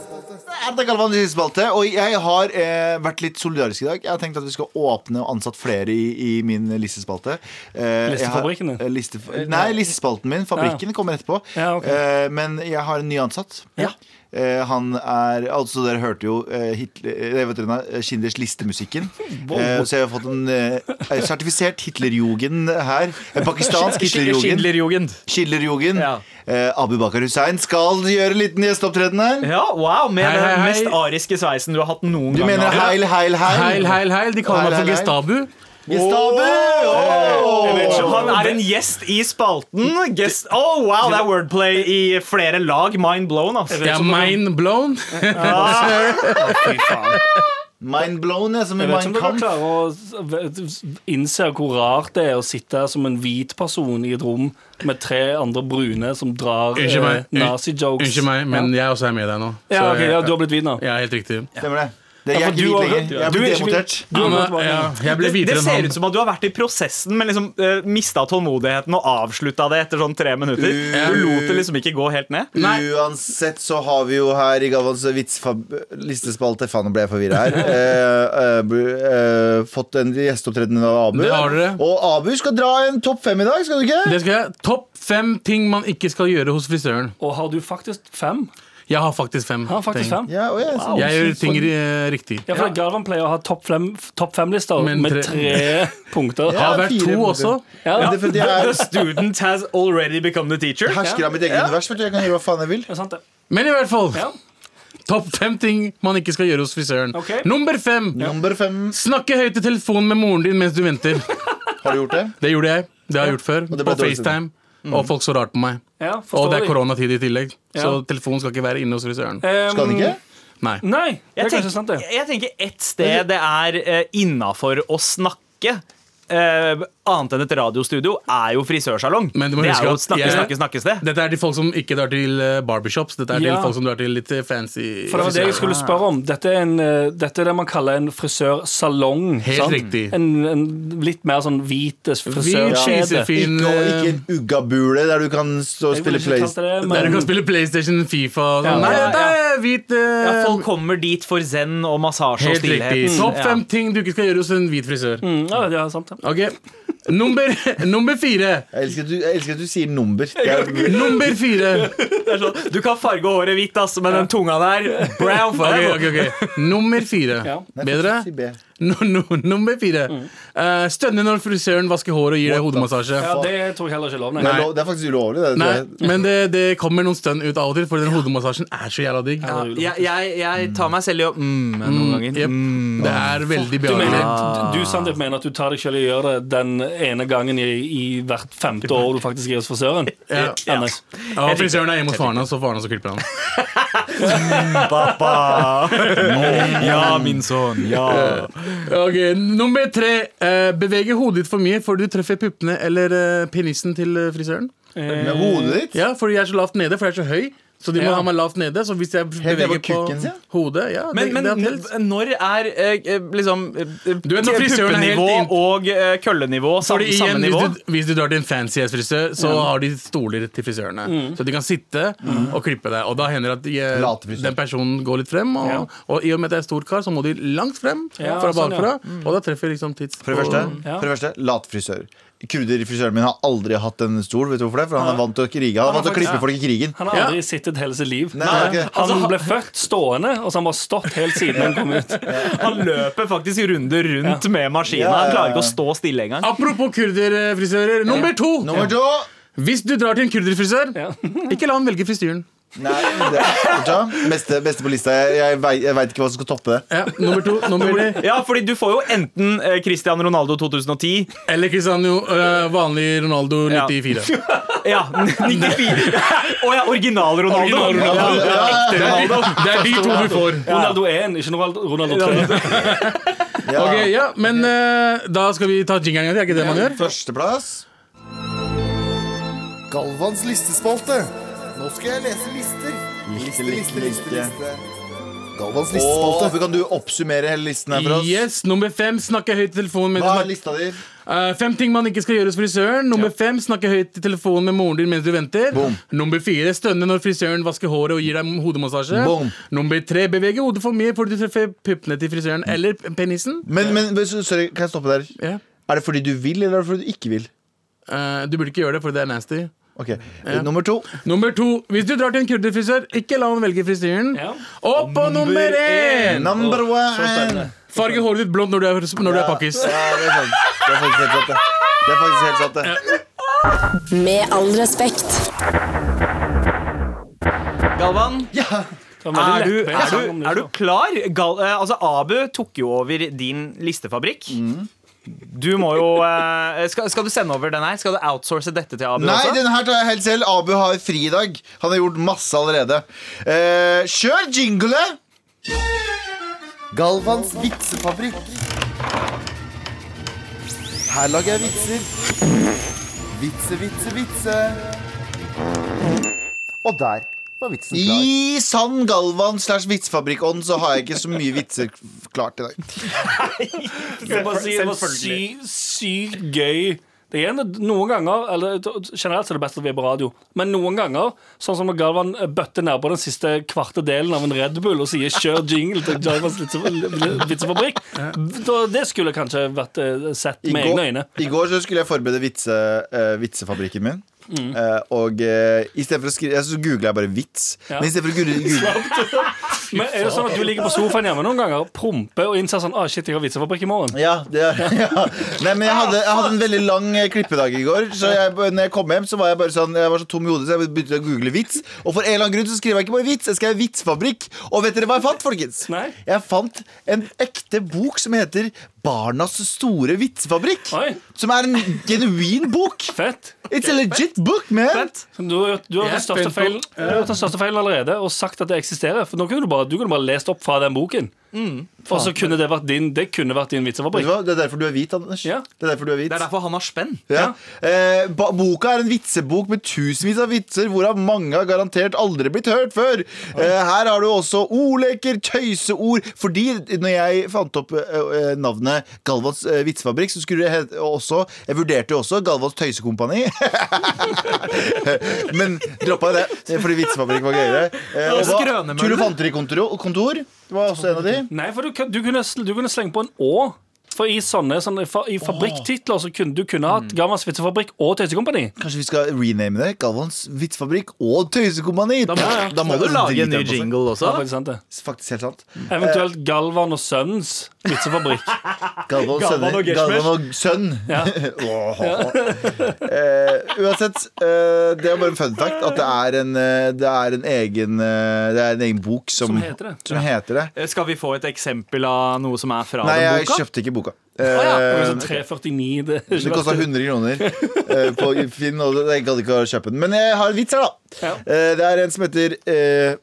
S4: Erna Galvan i siste spalte, og jeg har eh, vært litt solidarisk i dag. Jeg har tenkt at vi skal åpne og ansatt flere i, i min listespalte. Eh, jeg har-
S3: Listefabrikken din?
S4: Eh, liste, nei, listespalten min. Fabrikken kommer etterpå.
S3: Ja, ok.
S4: eh, men jeg har en ny ansatt.
S3: Ja.
S4: Eh, han er Altså, dere hørte jo eh, Hitler, eh, vet dere, nei, Schindlers
S3: [laughs]
S4: listemusikken. Eh, så jeg har fått en eh, sertifisert Hitlerjugend her. En
S3: [laughs]
S4: pakistansk Hitlerjugend.
S2: Schindlerjugend.
S4: Schillerjugend.
S2: Ja.
S4: Eh, Abu Bakar Hussein skal gjøre en liten gjesteopptreden her.
S2: Ja, wow, med
S6: Hei, hei,
S2: den
S6: hei.
S2: mest ariske sveisen du har hatt noen
S4: Du
S2: gang.
S4: mener
S2: Abu.
S4: heil, heil, heil?
S6: Heil, heil, heil. De kaller
S4: Heil,
S6: meg
S4: heil,
S6: for
S4: heil.
S6: Gestabu.
S4: Gestabu! Åh!
S2: Jeg vet ikke, Han er en gjest i spalten. Guest. Oh, wow, det er wordplay i flere lag. Mind blown, ass.
S6: Jeg er mind blown.
S3: Fy faen.
S4: Mind blown, jeg, som i
S3: Jeg vet ikke
S4: Mind
S3: om dere
S4: Kampf.
S3: klarer å s- v- innse hvor rart det er å sitte som en hvit person i et rom med tre andre brune som drar
S6: [laughs]
S3: eh,
S6: Unnskyld meg.
S3: nazi-jokes.
S6: Unnskyld meg, men jeg også er med deg nå.
S3: ja. Ja,
S6: Så
S3: ok,
S6: jeg-
S3: ja, Du har blitt hvit nå?
S6: Ja, helt riktig.
S4: Stemmer det. det jeg
S3: Ja,
S4: er
S3: for du
S4: ikke hvit
S3: har-
S4: lenger. Jeg
S3: du er
S4: ble
S3: ikke hvit.
S4: demotert.
S3: Du har
S6: Ja,
S3: gått
S6: men,
S3: tilbake.
S6: ja, jeg ble
S2: Det, det
S6: hvitere enn
S2: ser
S6: han.
S2: ut som at du har vært i prosessen, men liksom uh, mista tålmodigheten og avslutta det etter sånn tre minutter. Du lot det liksom ikke gå helt
S4: [laughs]
S2: ned.
S6: Nei.
S4: Uansett så har vi jo her i Galvans vitsfab... listespalte Faen, nå ble jeg forvirra her. Eh, eh, bu- eh, fått en gjesteopptreden av Abu.
S6: Det har dere.
S4: Og Abu skal dra en topp fem i dag, skal du ikke?
S6: Det skal jeg. Topp fem ting man ikke skal gjøre hos frisøren.
S3: Og har du faktisk fem?
S6: Jeg har faktisk fem.
S3: Har faktisk
S6: ting.
S3: fem?
S4: Ja, å, ja, så-
S6: Jeg gjør ting eh, riktig.
S3: Ja, for Galvan pleier å ha topp fem- topp fem-lister
S6: Men
S3: med
S6: tre- [laughs]
S3: tre punkter.
S6: Jeg har vært
S4: fire
S6: to
S4: punkter.
S6: også.
S3: Ja, det
S4: Men det er fordi jeg er
S2: student has already become the teacher.
S4: hersker av mitt eget univers. vet du. Jeg kan gjøre hva faen jeg vil.
S3: er sant, det.
S6: Men i hvert fall.
S3: Ja.
S6: Topp fem ting man ikke skal gjøre hos frisøren.
S3: Ok.
S6: Nummer fem.
S4: Nummer fem.
S6: Snakke høyt i telefonen med moren din mens du venter.
S4: Har du gjort det?
S6: Det gjorde jeg. Det har jeg gjort før.
S4: Og det ble
S6: På
S4: dårlig
S6: FaceTime. Og folk så rart på meg.
S3: Ja,
S6: Og det
S3: forstår
S6: er
S3: jeg.
S6: koronatid i tillegg, så
S3: Ja.
S6: telefonen skal ikke være inne hos frisøren.
S3: Ehm,
S4: Skal han ikke?
S6: Nei.
S3: Nei, det
S2: Jeg
S3: er
S2: tenker,
S3: kanskje sant, det.
S2: jeg tenker ett sted det er eh, innafor å snakke. eh, annet enn et radiostudio er jo frisørsalong.
S6: Men du må
S2: det
S6: huske
S2: er jo
S6: at
S2: et snakke,
S6: jeg-
S2: snakke, snakke sted.
S6: Dette er til folk som ikke drar til eh, barbershops. Dette er til
S3: Ja.
S6: folk som drar til litt eh, fancy
S3: For det var det jeg
S6: frisører.
S3: skulle spørre om. Dette er, en, eh, dette er det man kaller en frisørsalong.
S6: Helt
S3: sant?
S6: riktig.
S3: En, en litt mer sånn hvit frisørkjede.
S6: cheesy, fin,
S4: Ikke, og
S6: eh,
S4: ikke en uggabule der du kan stå og
S3: Jeg
S4: spille
S3: ville ikke kalt det det,
S4: Playstation.
S6: Der du kan
S3: men
S6: spille PlayStation, Fifa og sånn.
S3: Ja,
S6: Nei,
S3: ja,
S6: dette er hvit eh,
S2: Ja, folk kommer dit for zen og massasje og
S6: Helt riktig.
S2: stillhet.
S6: Topp fem ting du ikke skal gjøre hos en hvit frisør.
S3: Mm, ja, det er sant. det.
S6: Ok, Nummer, nummer fire.
S4: Jeg elsker, at du, jeg elsker at du sier nummer. Det er,
S6: Nummer fire.
S2: Det er sånn, du kan farge håret hvitt, ass, men den tunga der brown
S6: Ok,
S2: forever.
S6: ok, ok Nummer fire.
S3: Ja.
S4: Nei,
S6: Bedre?
S4: faktisk si B.
S6: No, no, nummer fire. Eh, stønne når frisøren vasker håret og gir deg
S4: What the
S6: hodemassasje.
S3: Ja, det tror jeg heller ikke er lov.
S4: Det
S3: Nei.
S4: er, lov, det er faktisk ulovlig. Det.
S6: Nei,
S4: Det-
S6: men det, det kommer noen stønn ut av og til, for den hodemassasjen er så jævla digg.
S3: Ja.
S2: Jeg, jeg, jeg tar meg selv i å mm, noen ganger. Mm,
S6: Jep. Det er veldig
S3: Du, mener,
S6: behagelig.
S3: du, du Sandeep, mener at du tar deg selv i å gjøre det den ene gangen i, i hvert femte år du faktisk er
S2: [laughs]
S3: hos frisøren?
S6: Ja.
S3: Ja, nice.
S6: Ja, og frisøren er hjemme hos faren hans, og faren hans klipper han.
S2: [laughs] Ja,
S6: Mm.
S2: min sønn. Ja.
S6: Ok, Nummer tre. eh, bevege hodet ditt for mye for du treffer puppene eller eh, penisen til eh, frisøren.
S4: Med hodet ditt?
S6: Ja, fordi jeg er så lavt nede, for jeg er så høy. Så de
S3: Ja.
S6: må ha meg lavt nede. Så hvis jeg
S4: ned på
S6: beveger på
S4: kukken sin?
S6: hodet ja,
S2: Men,
S6: det,
S2: men
S6: det er helt-
S2: n- når er eh, eh, liksom eh,
S6: Du vet når frisøren er helt
S2: puppenivå
S6: inn-
S2: og eh, kølle-nivå
S6: Fordi
S2: samme, samme
S6: igjen,
S2: nivå?
S6: hvis du, hvis du drar til en fancy ass frisør, så har de stoler til frisørene. Så de kan sitte og klippe deg. Og da hender det at
S4: Late
S6: de,
S4: frisør.
S6: den personen går litt frem. Og,
S3: Ja.
S6: og i og med at det er stor kar, så må de langt frem
S3: Ja,
S6: fra
S3: sånn,
S6: bakfra.
S3: ja.
S6: Og da treffer liksom tids
S4: For det første,
S3: Ja.
S4: for det første latfrisør. Kurderfrisøren min har aldri hatt en stol, vet du hvorfor det? For han er vant til å krige. Han er vant til å klippe folk i krigen.
S3: Han har aldri sittet hele sitt liv.
S4: Nei, det er ikke det.
S2: Altså,
S3: Han ble født stående, og så har han bare stått helt siden han kom ut.
S2: [laughs] Han løper faktisk runder rundt med maskina.
S4: Ja, ja, ja.
S2: Han klarer ikke å stå stille engang.
S6: Apropos kurderfrisører. Nummer to!
S4: Nummer to!
S6: Hvis du drar til en kurderfrisør,
S3: Ja.
S6: [laughs] ikke la han velge fristyren.
S4: Nei, det er fortsatt. beste, beste på lista. Jeg, jeg, vei- jeg veit ikke hva som skal toppe det.
S6: Ja, nummer to, nummer tre.
S2: Ja, fordi du får jo enten eh, Cristiano Ronaldo 2010
S6: Eller Cristiano øh, vanlig Ronaldo
S2: Ja.
S6: [laughs] 94.
S2: Ja, [laughs] 94. [laughs] Å ja, original Ronaldo.
S6: Original Ronaldo.
S2: Ja,
S6: Det er de- det er de to du får.
S3: Ronaldo 1, ikke Ronaldo, Ronaldo 3.
S4: Ja.
S6: Ok, ja, Men øh, da skal vi ta jingeren igjen. Er ikke det man gjør?
S4: Førsteplass. Galvans listespalte. Nå skal jeg lese lister. Liste, liste, liste, liste.
S7: Galvans
S4: Og
S7: listespalte.
S4: kan du oppsummere hele listen her for oss?
S6: Yes, Nummer fem snakke høyt i telefonen mens
S4: Hva
S6: du
S4: er lista di?
S6: Eh, fem ting man ikke skal gjøre hos frisøren. Nummer fem snakke høyt i telefonen med moren din mens du venter.
S4: Boom.
S6: Nummer fire stønne når frisøren vasker håret og gir deg hodemassasje.
S4: Boom.
S6: Nummer tre bevege hodet for mye fordi du treffer puppene til frisøren eller penisen.
S4: Men, men, men sorry, kan jeg stoppe der?
S6: Ja.
S4: Er det fordi du vil, eller er det fordi du ikke vil?
S6: Eh, du burde ikke gjøre det, for det er nasty.
S4: Ok, Nummer to.
S6: Nummer to hvis du drar til en kurderfrisør, ikke la han velge frisyren.
S3: Ja.
S6: Og på nummer én!
S4: Number one!
S3: Så spennende.
S6: Farge håret ditt blondt når du er, når du er pakkis.
S4: Ja, det er sant. Det er faktisk helt sant, det. Det er faktisk helt sant, det.
S5: Med all respekt.
S2: Galvan,
S3: Det var
S2: er
S3: veldig
S2: du,
S3: lettbeint
S2: er
S3: sang
S2: du,
S3: om
S2: er du
S3: da.
S2: klar? Gal, eh, altså, Abu tok jo over din listefabrikk.
S4: Mm.
S2: Du må jo eh, skal, skal du sende over den her? Skal du outsource dette til Abu
S4: Nei,
S2: også?
S4: den her tar jeg helt selv. Abu har fri i dag. Han har gjort masse allerede. Eh, kjør jingle!
S7: Galvans vitsefabrikk. Her lager jeg vitser. Vitse, vitse, vitse. Og der var vitsen klar.
S4: I sann Galvan slash vitsefabrikkånd så har jeg ikke så mye vitser klart i dag.
S3: Jeg må bare si, det var sy, sykt gøy. Det er en- noen ganger eller Generelt så er det best at vi er på radio, men noen ganger, sånn som når Galvan bøtter nedpå den siste kvarte delen av en Red Bull og sier 'kjør jingle' til Galvans vitse- vitsefabrikk, da, det skulle kanskje vært eh, sett
S4: I
S3: med
S4: går,
S3: egne øyne.
S4: I går så skulle jeg forberede vitse, eh, vitsefabrikken min.
S3: Mm.
S4: Eh, og uh, istedenfor å skrive Så googla jeg bare 'vits'.
S3: Ja.
S4: Men istedenfor å google,
S3: [laughs]
S4: google
S3: Men er det sånn at du ligger på sofaen hjemme noen ganger, promper og innser sånn ah, 'shit, jeg har vitsefabrikk i morgen'?
S4: Ja, det er, [laughs] ja. Nei, men jeg
S3: Ah,
S4: hadde, jeg hadde en veldig lang eh, klippedag i går. Så jeg, når jeg kom hjem, så var jeg bare sånn Jeg var så tom i hodet, så jeg begynte å google vits. Og for en eller annen grunn så skriver jeg ikke bare vits, jeg skrev Vitsfabrikk. Og vet dere hva jeg fant, folkens?
S3: Nei.
S4: Jeg fant en ekte bok som heter Barnas store vitsefabrikk.
S3: Oi.
S4: Som er en genuin bok.
S3: Fett.
S4: It's a legit book, man.
S3: Du har gjort, du har
S6: Jeg er
S3: gjort den største feilen
S6: spent
S3: du har gjort den største feilen allerede og sagt at det eksisterer. For nå kunne du bare, du kunne bare lest opp fra den boken. og så kunne det vært din Det kunne vært din
S4: Mm, Vet du
S3: vitsefabrikk.
S4: hva? Det er derfor du er hvit, Anders.
S3: Ja.
S4: Det er derfor du er hvit.
S2: Det er derfor han har spenn.
S4: Ja. Eh, ba- boka er en vitsebok med tusenvis av vitser, hvorav mange har garantert aldri blitt hørt før. Eh, her har du også ordleker, tøyseord Fordi når jeg fant opp eh, eh, navnet Galvans eh, vitsefabrikk, så skulle det hete også Jeg vurderte jo også Galvans tøysekompani. [laughs] Men droppa det, fordi vitsefabrikk var gøyere. Eh, og
S2: Også
S4: hva-
S2: Grønemøller.
S4: Tulofanterikontor kontor, var også en av de.
S3: Nei, for du, kan- du, kunne, sl- du kunne slenge på en Å. For i sånne, sånne fa, i fabrikktitler så kunne du kunne
S4: Mm.
S3: hatt Gammals vitsefabrikk og Tøysekompani.
S4: Kanskje vi skal rename det? Galvans vitsefabrikk og tøysekompani. Da
S3: må-
S2: Da må du lage en ny jingle
S3: Det
S2: også.
S3: er faktisk sant, det. sånn.
S4: Faktisk helt sant.
S3: Eventuelt
S4: Eh.
S3: Galvan og Sønnens vitsefabrikk.
S4: Galvan,
S2: Galvan og
S4: sønner,
S2: Gershmer.
S4: Galvan og sønn. Åh. [laughs] Eh, uansett, eh, det er bare en fun fact at det er en, eh, det er en, egen, eh, det er en egen bok som,
S3: Som heter det.
S4: som heter det.
S2: Eh, Skal vi få et eksempel av noe som er fra
S4: Nei,
S2: den
S4: jeg
S2: boka?
S4: kjøpte ikke boka.
S3: Det
S4: [laughs] Eh,
S3: var sånn 349 det,
S4: det kosta 100 kroner eh, på Finn, og det- jeg gadd ikke å kjøpe den. Men jeg har en vits her, da.
S3: Ja.
S4: Eh, det er en som heter eh,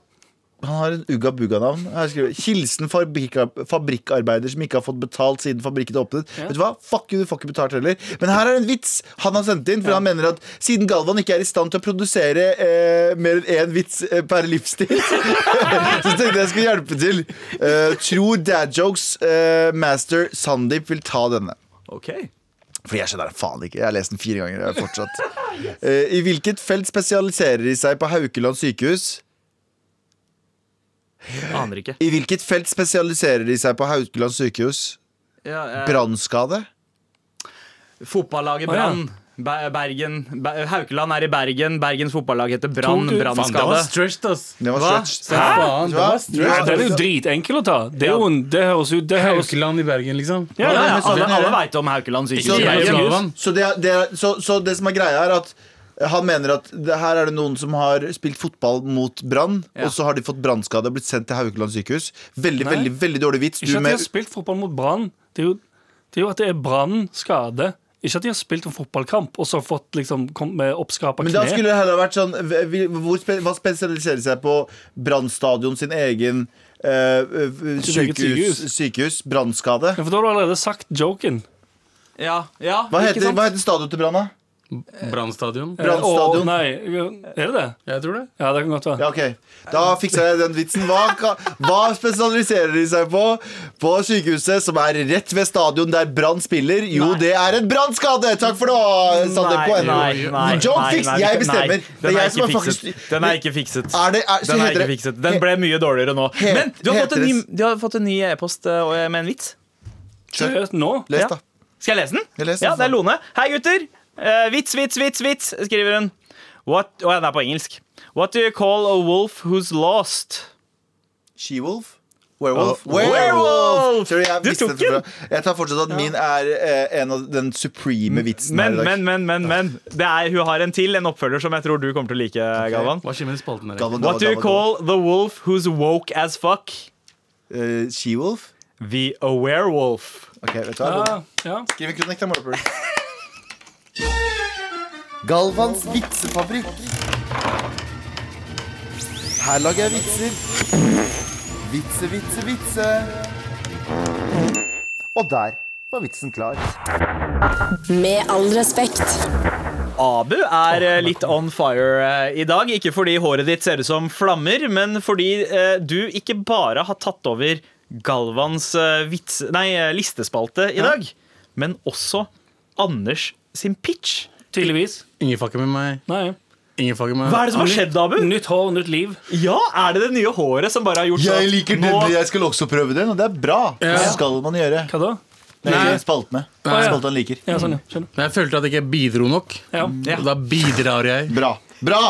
S4: han har en Ugga Bugga-navn. Her skriver jeg, Hilsen fabrikka- fabrikkarbeider som ikke har fått betalt siden fabrikken åpnet. Vet du hva? Fuck you, du får ikke betalt heller. Men her er en vits han har sendt inn, for han mener at siden Galvan ikke er i stand til å produsere eh, mer enn én vits eh, per livsstil, [laughs] så tenkte jeg jeg skulle hjelpe til. Eh, tror dadjokes eh, master Sandeep vil ta denne.
S2: Ok.
S4: Fordi jeg skjønner det faen ikke. Jeg har lest den fire ganger. Jeg er fortsatt. Eh, I hvilket felt spesialiserer de seg på Haukeland sykehus?
S2: Aner ikke.
S4: I hvilket felt spesialiserer de seg på Haukeland sykehus?
S2: Ja, eh,
S4: Brannskade?
S2: Fotballaget
S3: Å, ja.
S2: Brann. Be- Bergen. Be- Haukeland er i Bergen. Bergens fotballag heter Brann.
S3: Tok du-
S6: Faen, det var
S2: Brannskade.
S6: stretched, ass.
S4: Det var
S2: Hva?
S4: stretch.
S6: Faen, det
S4: Hva?
S6: var stretched.
S3: Den er jo dritenkel å ta. Det, er jo en, det høres ut det høres,
S6: Haukeland i Bergen, liksom.
S2: Ja, ja, ja, alle
S4: Sånn er
S2: alle
S4: det.
S2: veit om Haukeland
S4: Så,
S2: sykehus.
S6: Ikke
S2: Bergen.
S6: Haukeland.
S4: så, det, er- det, er- så, så det som er greia, er at han mener at det, her er det noen som har spilt fotball mot Brann, og så har de fått brannskade og blitt sendt til Haukeland sykehus. Veldig,
S3: Nei.
S4: veldig veldig dårlig vits.
S3: Ikke
S4: Du
S3: at de
S4: med
S3: har spilt fotball mot Brann. Det, er jo- det er jo at det er Brann skade. Ikke at de har spilt en fotballkamp og så fått liksom, kom med oppskapa
S4: Men da
S3: kne.
S4: skulle det heller vært sånn v- vi- hvor, spe- Hva spesialiserer seg på Brannstadion sin egen eh, eh,
S3: Sitt eget
S4: sykehus, sykehus Brannskade?
S3: Ja, for da har du allerede sagt joken.
S2: Ja, ja.
S4: Hva
S3: Ikke
S4: heter,
S3: sant?
S4: hva heter stadion til Brann, da?
S6: Brannstadion.
S3: Å, Eh,
S4: Brannstadion.
S3: Nei, er det det?
S6: Jeg tror det.
S3: Ja, det kan godt være.
S4: Ja, ok. Da fiksa jeg den vitsen. Hva, ka- hva spesialiserer de seg på på sykehuset som er rett ved stadion der Brann spiller? Jo, det er en brannskade! Takk for det, Sander på NHO. Joke fix! Jeg bestemmer. Det
S2: Den
S4: er
S2: er,
S4: jeg som
S2: ikke
S4: er
S2: fikset.
S4: faktisk
S2: den er ikke fikset.
S4: Er det- er- så
S2: den er
S4: heter
S2: ikke
S4: det-
S2: fikset. Den ble mye dårligere nå.
S4: He-
S2: Men du har fått en ny,
S4: heter
S2: du har fått en ny e-post eh, og- med en vits.
S3: Seriøst, nå?
S4: Les,
S2: Ja.
S4: da.
S2: Skal jeg lese den?
S4: Jeg leser
S2: ja,
S4: den.
S2: det er Lone. Hei, gutter. Eh, vits, vits, vits, vits, skriver hun. What, Å, ja, det er på engelsk. What do you call a wolf who's lost?
S4: She-Wolf? Werewolf?
S6: Oh.
S2: Werewolf!
S4: Sorry, jeg
S2: Du
S4: visste
S2: tok
S4: det fra- Jeg tar fortsatt at min er eh, en av den supreme vitsen
S2: Men,
S4: her i dag.
S2: men, men, men, men. Det er, hun har en til, en oppfølger som jeg tror du kommer til å like, Galvan.
S6: Hva skjer med spalten her?
S4: Gavan, gavan,
S2: What do you
S4: gavan,
S2: call the wolf who's woke as fuck?
S4: gavan. Eh, She-Wolf?
S2: The a werewolf.
S4: Ok, vet du hva?
S3: Ja, ja.
S4: Skriv en kronikk, da, Morapur.
S7: [laughs] Galvans vitsefabrikk. Her lager jeg vitser. Vitse, vitse, vitse. Og der var vitsen klar.
S5: Med all respekt.
S2: Abu er eh, litt on fire eh, i dag. Ikke fordi håret ditt ser ut som flammer, men fordi eh, du ikke bare har tatt over Galvans eh, vits, nei, eh, listespalte i dag, men også Anders sin pitch.
S3: Tydeligvis.
S6: Ingen fucker med meg.
S3: Nei.
S6: Ingen fucker med meg.
S2: Hva er det som har skjedd, Abu?
S3: Nytt hår, nytt liv.
S2: Ja, Er det det nye håret som bare har gjort sånn
S4: Jeg
S2: at
S4: liker den,
S2: nå-
S4: jeg skal også prøve den, og det er bra. Det skal man gjøre.
S3: Hva da?
S4: Det
S6: Nei.
S4: er spaltene.
S3: Nei.
S4: Spaltene liker.
S3: Ja, sånn, ja. Skjønner.
S6: Men jeg følte at jeg ikke bidro nok.
S3: Ja.
S6: Og da bidrar jeg.
S4: Mm. Bra. Bra!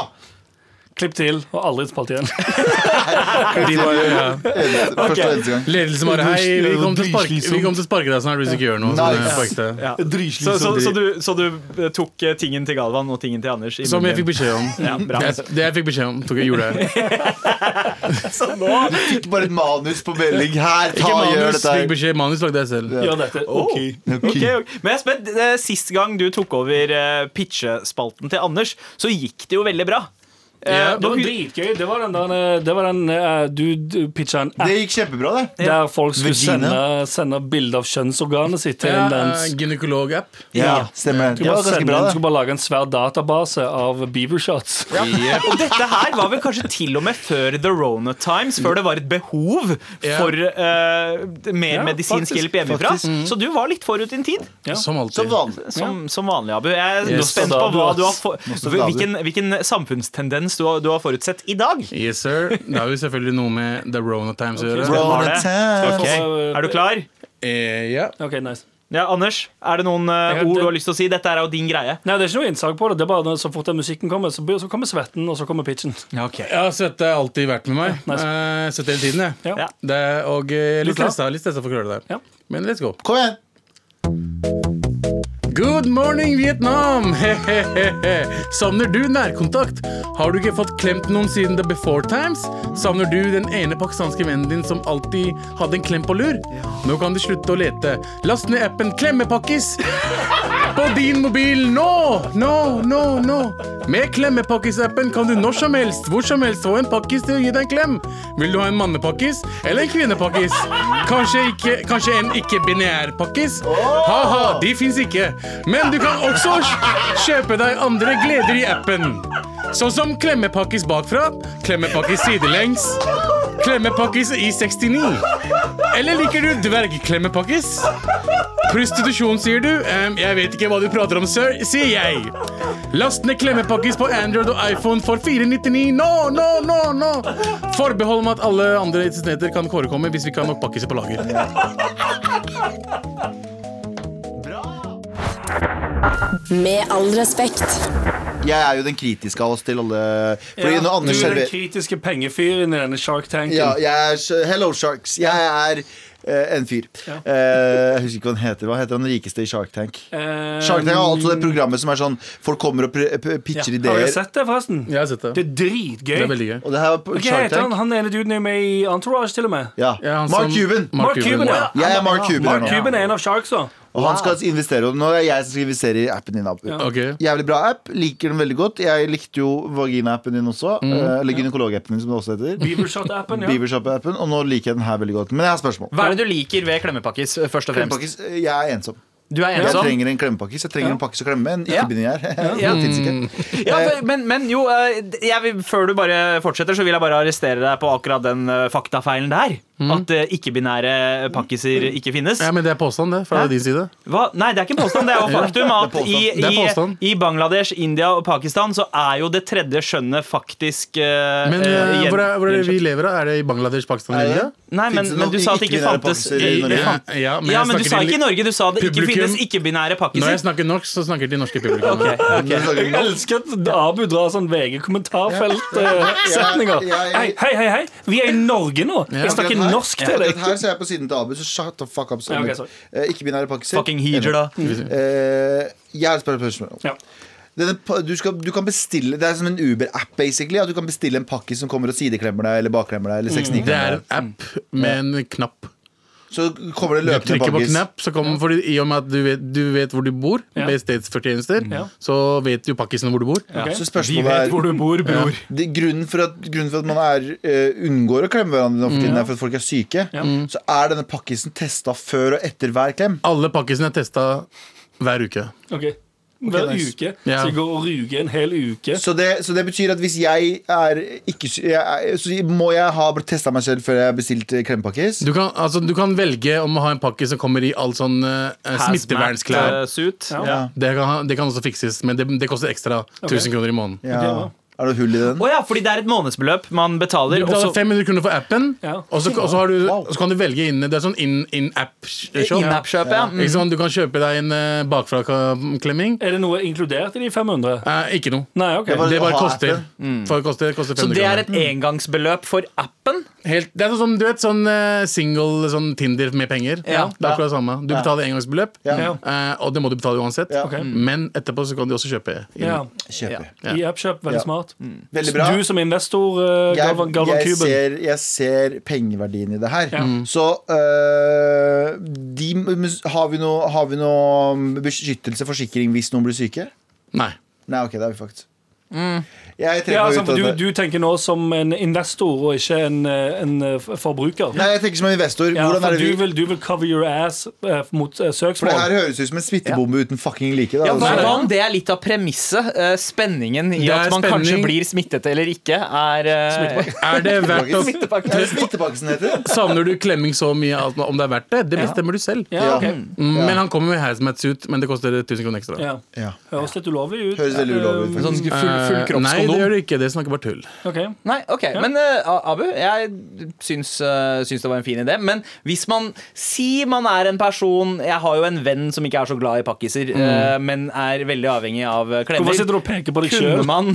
S3: Klipp til, og aldri spalt igjen. [laughs]
S6: De
S4: [laughs]
S6: var, ja.
S4: Eneste- Første og eneste gang.
S6: Ledelsen bare Hei, vi kommer til å sparke, vi kommer til å sparke deg snart hvis du ikke gjør noe. Så
S4: Nice.
S6: jeg sparket deg.
S2: Ja. Så, så, så, du, så du eh, tok eh, tingen til Galvan og tingen til Anders? i
S6: Som
S2: munnen
S6: jeg fikk
S2: din.
S6: beskjed om.
S2: ja, bra.
S6: Det, det jeg fikk beskjed om, tok jeg gjorde jeg.
S2: Så nå
S4: Fikk bare et manus på melding. Her, ta
S6: Ikke
S4: og gjør
S6: manus,
S4: dette.
S6: fikk
S4: her.
S6: beskjed. Manus lagde jeg selv.
S3: Gjør dette.
S4: Oh.
S2: Ok, ok. Men jeg er spent. Eh, Sist gang du tok over eh, pitchespalten til Anders, så gikk det jo veldig bra. Eh,
S6: Ja,
S3: Det
S2: da-
S3: var dritgøy. Det var den der eh, det var den, eh, du, du pitcha en app
S4: Det gikk kjempebra, det.
S3: der folk skulle sende,
S4: Vagina.
S3: sende bilde av kjønnsorganet sitt til
S6: Ja,
S3: en dans.
S6: eh, Gynekolog-app.
S4: Ja, stemmer. Det
S3: Skulle bare,
S4: var ganske
S3: sende,
S4: bra,
S3: en-
S4: det.
S3: skulle bare lage en svær database av
S4: [laughs]
S3: beavershots. Ja.
S2: og dette her var vel kanskje til og med før The Rona Times, før det var et behov
S6: Ja.
S2: for eh, mer
S3: Ja,
S2: medisinsk hjelp
S3: faktisk, Mm.
S2: hjemmefra. Så du var litt forut din tid,
S6: Som
S4: Som
S6: alltid.
S4: vanlig.
S2: som, som vanlig, Abu. Jeg er
S6: Yes.
S2: spent på hva du har for,
S4: Nostradamus.
S2: hvilken, hvilken samfunnstendens du har, du har forutsett i dag.
S6: Yes, sir. Det har jo selvfølgelig noe med The Rona Times å gjøre.
S4: Roll
S2: Har
S4: the
S2: det.
S4: time.
S2: Ok, Er du klar?
S6: Eh, ja.
S3: Ok, nice
S2: Ja, Anders, er det noen eh,
S3: Jeg kan-
S2: ord du har lyst til å si? Dette er jo din greie.
S3: Nei, Det er ikke noe innsag på det. Det er bare når- Så fort den musikken kommer, så, blir- så kommer svetten, og så kommer pitchen. [laughs]
S6: Ja, svette har alltid vært med meg.
S3: nice.
S6: Eh, Svette hele tiden, jeg.
S3: Ja.
S2: Ja.
S6: Det, er- og eh,
S3: Du
S6: litt
S3: klar?
S6: stressa, litt stressa for å klare det der.
S3: Ja.
S6: Men let's go.
S4: Kom igjen.
S6: Good morning, Vietnam! [laughs] Hehehehe. Savner du nærkontakt? Har du ikke fått klemt noen siden The Before Times? Savner du den ene pakistanske vennen din som alltid hadde en klem på lur? Nå kan du slutte å lete. Last ned appen Klemmepakkis på din mobil nå! Nå, nå, nå! Med Klemmepakkis-appen kan du når som helst, hvor som helst få en pakkis til å gi deg en klem. Vil du ha en mannepakkis eller en kvinnepakkis? Kanskje, ikke, kanskje en ikke-binær pakkis? Ha-ha, de fins ikke. Men du kan også kj- kjøpe deg andre gleder i appen. Sånn som klemmepakkis bakfra, klemmepakkis sidelengs, klemmepakkis i 69. Eller liker du dvergklemmepakkis? Prostitusjon, sier du? Ehm, jeg vet ikke hva du prater om, sir, sier jeg. Last ned klemmepakkis på Android og iPhone for 499 nå, nå, nå! nå Forbehold om at alle andre insistenter kan forekomme hvis vi ikke har nok pakkiser på lager.
S5: Med all respekt.
S4: Jeg er jo den kritiske av oss til alle. Fordi når
S3: du
S4: Anders
S3: er den
S4: serverer
S3: kritiske pengefyren i denne Shark Tanken.
S4: Ja, jeg er Hello Sharks. Jeg er eh, en fyr. Eh, jeg husker ikke hva han heter. Hva heter han rikeste i Shark Tank?
S3: Eh,
S4: Shark Tank er altså det programmet som er sånn folk kommer og pr- p- pitcher
S3: Har
S4: ideer.
S3: dere sett det, forresten?
S6: Jeg har sett det.
S3: Det er dritgøy.
S6: Det er veldig gøy.
S4: Og det her var på
S3: Ok,
S4: Shark
S3: heter han,
S4: Tank.
S3: han ene duden er med i Entourage, til og med.
S4: Ja.
S6: Ja, han
S4: Mark
S6: som-
S4: Cuban.
S3: Mark Cuban, ja.
S6: ja.
S4: Jeg er Mark Cuban her
S3: Mark
S4: nå.
S3: Cuban er en av sharksa.
S4: Og han skal investere. Og nå er det jeg som skal investere i appen din. Abu.
S6: Ok.
S4: Jævlig bra app. Liker den veldig godt. Jeg likte jo vagina-appen din også. eh, Eller gynekolog-appen din, som det også heter.
S3: Beavershot-appen, ja.
S4: Beavershop-appen. Og nå liker jeg den her veldig godt. Men jeg har spørsmål.
S2: Hva er det du liker ved klemmepakkis? først og fremst?
S4: Fremst. Jeg er ensom.
S2: Du er
S4: Jeg
S2: ensom?
S4: trenger en klemmepakis. Jeg trenger en pakkis å klemme. En
S2: Ja.
S4: ikke-binær.
S2: Ja.
S4: Det finnes ikke.
S2: Mm. Ja, for- men, men jo, eh, jeg vil, før du bare fortsetter, så vil jeg bare arrestere deg på akkurat den eh, faktafeilen der. At eh, ikke-binære pakkiser ikke finnes.
S6: Mm. Ja, men det er påstand, det, fra
S2: Hæ?
S6: din side.
S2: Hva? Nei, det er ikke en påstand. Det
S6: [laughs]
S2: er jo faktum at
S4: Det er
S2: i,
S6: Det er påstand.
S2: i, i Bangladesh, India og Pakistan så er jo det tredje skjønnet faktisk eh,
S6: Men
S2: eh,
S6: eh,
S2: gjen-
S6: hvor, er, hvor er det vi
S2: gjenskjønt.
S6: lever av? Er det i Bangladesh,
S4: [laughs]
S6: Pakistan
S4: Er
S6: og
S4: det
S6: India?
S2: Nei, men,
S4: Finnes det
S2: men
S4: noen
S2: du sa at det ikke
S4: ikke-binære
S2: fantes
S4: pakkiser i Norge?
S2: det fant-
S4: [laughs]
S6: Ja, men
S2: Ja,
S6: jeg
S2: men du
S6: snakker
S2: sa
S6: til-
S2: ikke i Norge. Du sa det ikke
S6: Publikum-
S2: finnes ikke-binære
S6: Når jeg
S2: pakkiser.
S6: snakker norsk, så snakker jeg til norske
S4: Men
S6: publikum.
S4: det snakker vi
S3: Jeg
S4: om.
S3: elsker at Abu drar sånn VG-kommentarfelt-setninger.
S4: Ja, ja, ja.
S3: Hei, hei, hei, hei! Vi er i Norge nå! Jeg snakker
S4: Akkurat her-
S3: norsk til
S4: akkurat
S3: deg.
S4: Her så er jeg på siden til Abu, så shut the fuck up.
S3: Ja, ok, sorry.
S4: Eh, Ikke-binære pakkiser.
S2: Fucking hijer, da.
S4: Eh, jeg har et spørsmål.
S3: Ja.
S4: Denne, pa- du, skal, du kan bestille Det er som en Uber-app, basically. At du kan bestille en pakkis som kommer og sideklemmer deg eller bakklemmer deg. Eller
S6: Mm. Det
S4: sekssniklemmer
S6: er en app
S2: Mm.
S6: med en knapp.
S4: deg Så kommer det
S6: Du
S4: løpende
S6: trykker på
S4: pakkis.
S6: knapp, så kommer, fordi I og med at du vet, du vet hvor du bor,
S3: Ja.
S6: med stedsfortjenester,
S3: Ja.
S6: så vet jo pakkisen hvor du bor.
S3: Ok.
S4: Så
S3: Vi
S4: spørsmålet
S3: vet
S4: er
S3: hvor du bor, bror.
S4: det, grunnen, for at, grunnen for at man er, eh, unngår å klemme hverandre nå for
S6: Mm.
S4: tiden, er for at folk er syke.
S3: Ja.
S4: Så er denne pakkisen testa før og etter hver klem.
S6: Alle pakkisene er testa hver uke.
S3: Ok. Hver
S4: nice.
S3: uke.
S6: Ja.
S3: Så jeg går og ruger en hel uke.
S4: Så det, så det betyr at hvis jeg er ikke sy- jeg, er- Så må jeg ha testa meg selv før jeg har bestilt eh, klempakkis.
S6: Du kan, altså, du kan velge om å ha en pakkis som kommer i all sånn eh, smittevernsklær.
S2: Hazmat, eh, suit.
S3: Ja.
S2: Ja.
S6: Det kan, ha- det kan også fikses, men det, det koster ekstra 1000 kroner i måneden.
S4: Ja.
S3: Ok,
S4: Er det hull i den?
S2: Å ja, fordi det er et månedsbeløp man betaler.
S6: Du
S2: og
S6: betaler
S2: så-
S6: 500 kroner for appen,
S3: Ja.
S6: og så, og så, har du,
S4: Wow.
S6: og så kan du velge inn Det er sånn in-app-shop.
S2: In-app-kjøp, ja.
S6: Ikke sant? Du kan kjøpe deg en eh, bakfra-klemming.
S3: Er det noe inkludert i de 500?
S6: Eh, ikke noe.
S3: Nei, ok.
S4: var-
S6: Det
S4: å
S6: bare
S4: ha
S6: koster.
S4: appen.
S6: For det koster, koster
S2: Så
S6: 500
S2: det er
S6: kroner.
S2: et engangsbeløp for appen?
S6: Helt, det er sånn som du vet, sånn eh, single sånn Tinder med penger.
S2: Ja.
S6: Det er akkurat det samme. Du betaler engangsbeløp,
S4: Ja.
S6: eh, og det må du betale uansett.
S4: Ja.
S3: Ok.
S6: Men etterpå så kan du også kjøpe. inn.
S3: Ja.
S4: Kjøper.
S6: Ja.
S3: I appkjøp, veldig
S4: Ja. Mm.
S3: smart.
S4: Veldig bra.
S3: Du som investor, eh, Galvan,
S4: jeg,
S3: Galvan
S4: jeg,
S3: Kuben.
S4: ser, jeg ser pengeverdien i det her.
S3: Ja.
S4: Så øh, de, har, vi noe, har vi noe mm, beskyttelse, forsikring, hvis noen blir syke?
S6: Nei.
S4: Nei, ok, det har vi faktisk. Jeg trekker
S3: Ja,
S4: meg
S3: altså,
S4: ut av
S3: du,
S4: det.
S3: du tenker nå som en investor og ikke en, eh, en eh, f- forbruker.
S4: Nei, jeg tenker som en investor.
S3: Ja,
S4: Hvordan
S3: for
S4: er det
S3: du,
S4: vi
S3: vil, du vil cover your ass eh, mot eh,
S4: For det her
S3: søksmål.
S4: høres ut som en smittebombe uten fucking like. Da,
S2: Ja, hva,
S4: altså.
S2: hva om det er litt av premisset? eh, Spenningen i
S6: Det er
S2: at man kanskje
S6: spenning.
S2: blir smittet eller ikke, er eh,
S6: Er det verdt å
S4: Smittepakke- Er det smittepakkisen heter?
S6: Savner du klemming så mye alt, om det er verdt det? Det bestemmer du selv.
S3: Ja, ok.
S6: Mm, Men han kommer med hazmat-suit, men det koster 1000 kroner ekstra.
S3: Ja.
S4: Ja.
S3: Høres litt ulovlig ut.
S4: Høres veldig ulovlig ut,
S2: Sånn full, full
S3: Eh,
S4: faktisk.
S6: Eh, Nei, det
S2: kroppskondom?
S6: gjør det ikke. Det snakker bare tull.
S3: ok.
S2: Nei, ok, Men eh, Abu, jeg syns, eh, syns det var en fin idé. Men hvis man Si man er en person Jeg har jo en venn som ikke er så glad i pakkiser, eh, men er veldig avhengig av eh,
S3: Hvorfor sitter
S2: klemmer.
S3: du og peker på deg
S2: Kunne
S3: sjøl?
S2: man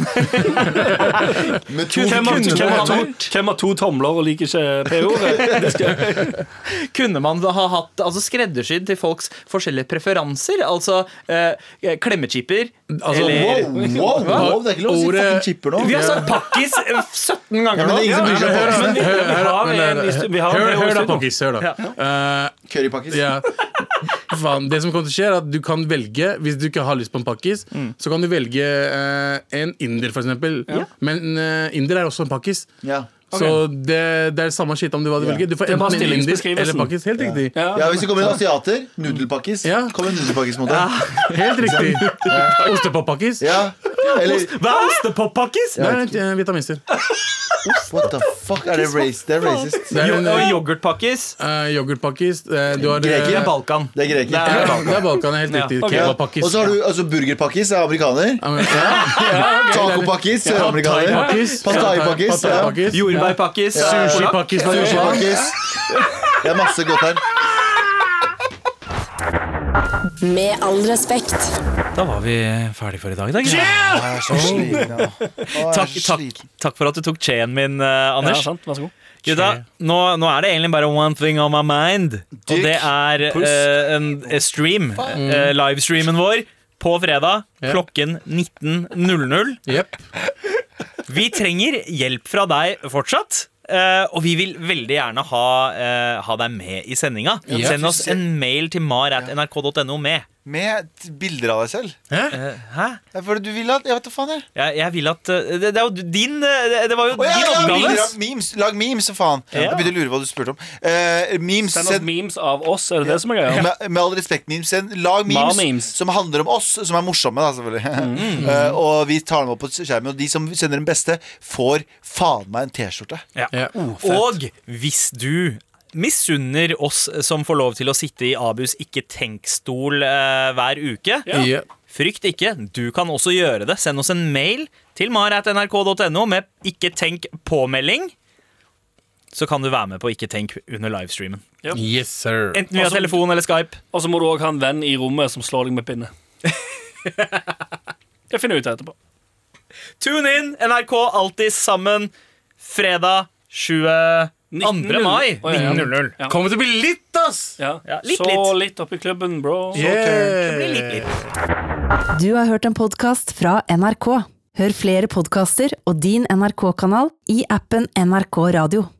S2: [laughs]
S4: Med to
S3: Hvem har-
S2: Kunne
S3: hvem har
S2: man
S3: to- hvem har to tomler og liker ikke
S2: [laughs]
S3: P-ordet? Det skal-
S2: kunne man da ha hatt altså skreddersydd til folks forskjellige preferanser? Altså eh, klemmechipper
S6: Altså,
S2: eller
S4: Wow, wow, wow, det er ikke lov å si
S6: Ordet-
S4: fucking chipper nå.
S2: Vi har sagt pakkis eh, 17 ganger
S4: Ja, men
S2: nå.
S4: det er ingen som bryr seg om
S6: Hør,
S4: pakkisene.
S6: hør, hør,
S3: Vi har
S6: hør,
S3: en liste- vi har en
S6: hør, hør, hør da,
S3: oversyn.
S6: Pokkis. Hør, da. Eh,
S4: Currypakkis.
S6: [laughs] Ja. Faen, det som kommer til å skje er at du kan velge Hvis du ikke har lyst på en pakkis, så kan du velge eh, en inder, for eksempel. Men eh, inder er også en pakkis.
S4: Ja.
S6: Så det, det er samme skitt om du hva du
S4: Ja.
S6: velger. Du får
S3: Det er bare
S6: enten en inder
S3: stillingsbeskrivelsen.
S6: eller pakkis. Helt riktig.
S3: Ja.
S4: Ja, hvis det kommer en asiater, nudelpakkis.
S6: Ja.
S4: Kommer en nudelpakkis mot deg.
S6: Helt riktig. Ostepop-pakkis.
S4: Ja. Eller
S2: Hva er ostepop-pakkis?
S6: Det er eh, vitaminster.
S4: What the fuck? Er det racist? Det er racist.
S6: Det er en,
S2: Og
S6: eh,
S2: yoghurtpakkis?
S6: eh, yoghurtpakkis. Eh, Du har
S4: Greker,
S6: eh,
S2: Det er
S6: ja,
S2: Balkan.
S4: Det er greker.
S2: Det er Balkan.
S6: Det er Balkan, helt
S2: Ja.
S6: riktig.
S3: Ok.
S6: Kebabpakkis.
S4: Og så har du altså, burgerpakkis er amerikaner.
S6: Ja, men- ja.
S4: Tacopakkis er amerikaner.
S6: Thai-pakkis.
S4: Pad thai-pakkis,
S6: Pad thai-pakkis.
S2: Jordbærpakkis. polakk.
S6: Sushi-pakkis. var det ikke?
S4: Sushipakkis. Det er masse godt her.
S5: Med all respekt.
S2: Da var vi ferdig for i dag, da. gutter. Takk, takk, takk for at du tok chainen min, eh,
S3: Ja,
S2: Anders.
S3: sant. Vær så god.
S2: Gutta, nå, nå er det egentlig bare one thing on my mind. Og det er eh, en eh, stream. eh,
S4: Mm.
S2: livestreamen vår på fredag
S6: Ja.
S2: klokken 19.00.
S6: Jepp.
S2: Vi trenger hjelp fra deg fortsatt. eh, og vi vil veldig gjerne ha, eh, ha deg med i sendinga.
S6: Ja.
S2: Send oss en mail til mar.nrk.no med.
S4: med t- bilder av deg selv. Eh,
S6: Hæ?
S2: Hæ?
S4: Det er fordi du vil at Jeg vet da faen, jeg.
S2: Jeg, jeg vil at eh, Det, det er jo din eh, Det, det var jo
S4: Å, ja,
S2: din
S4: ja,
S2: oppgave.
S4: bilder av memes. Lag memes, så faen.
S2: Ja.
S4: Jeg begynte å lure hva du spurte om. Eh, memes,
S3: Send oss
S4: send,
S3: memes av oss, er det det som er greia?
S4: med, med all respekt, memes. Send, lag
S3: Ma
S4: memes,
S3: memes. Mm.
S4: som handler om oss, som er morsomme, da, selvfølgelig. [laughs] Eh, og vi tar dem opp på skjermen, og de som sender den beste, får faen meg en T-skjorte.
S2: Ja.
S6: Ja. Oh,
S2: Og hvis du misunner oss som får lov til å sitte i Abus ikke-tenk-stol eh, hver uke,
S6: Ja.
S2: frykt ikke. Du kan også gjøre det. Send oss en mail til mar.nrk.no med ikke-tenk-påmelding. Så kan du være med på Ikke tenk under livestreamen.
S6: Yes, sir.
S2: Enten via telefon eller Skype.
S3: Og så må du òg ha en venn i rommet som slår deg
S2: [laughs]
S3: med pinne. Det finner jeg ut av etterpå.
S2: Tune in! NRK Alltid sammen. Fredag 22.
S3: 19.00.
S2: mai
S3: Å, ja, ja.
S2: 19.00.
S3: Ja.
S6: Kommer til å bli litt, ass!
S3: Ja.
S2: Ja, litt,
S3: så
S2: litt.
S3: litt oppi klubben, bro.
S2: Det blir litt, litt.
S5: Du har hørt en podkast fra NRK. Hør flere podkaster og din NRK-kanal i appen NRK Radio.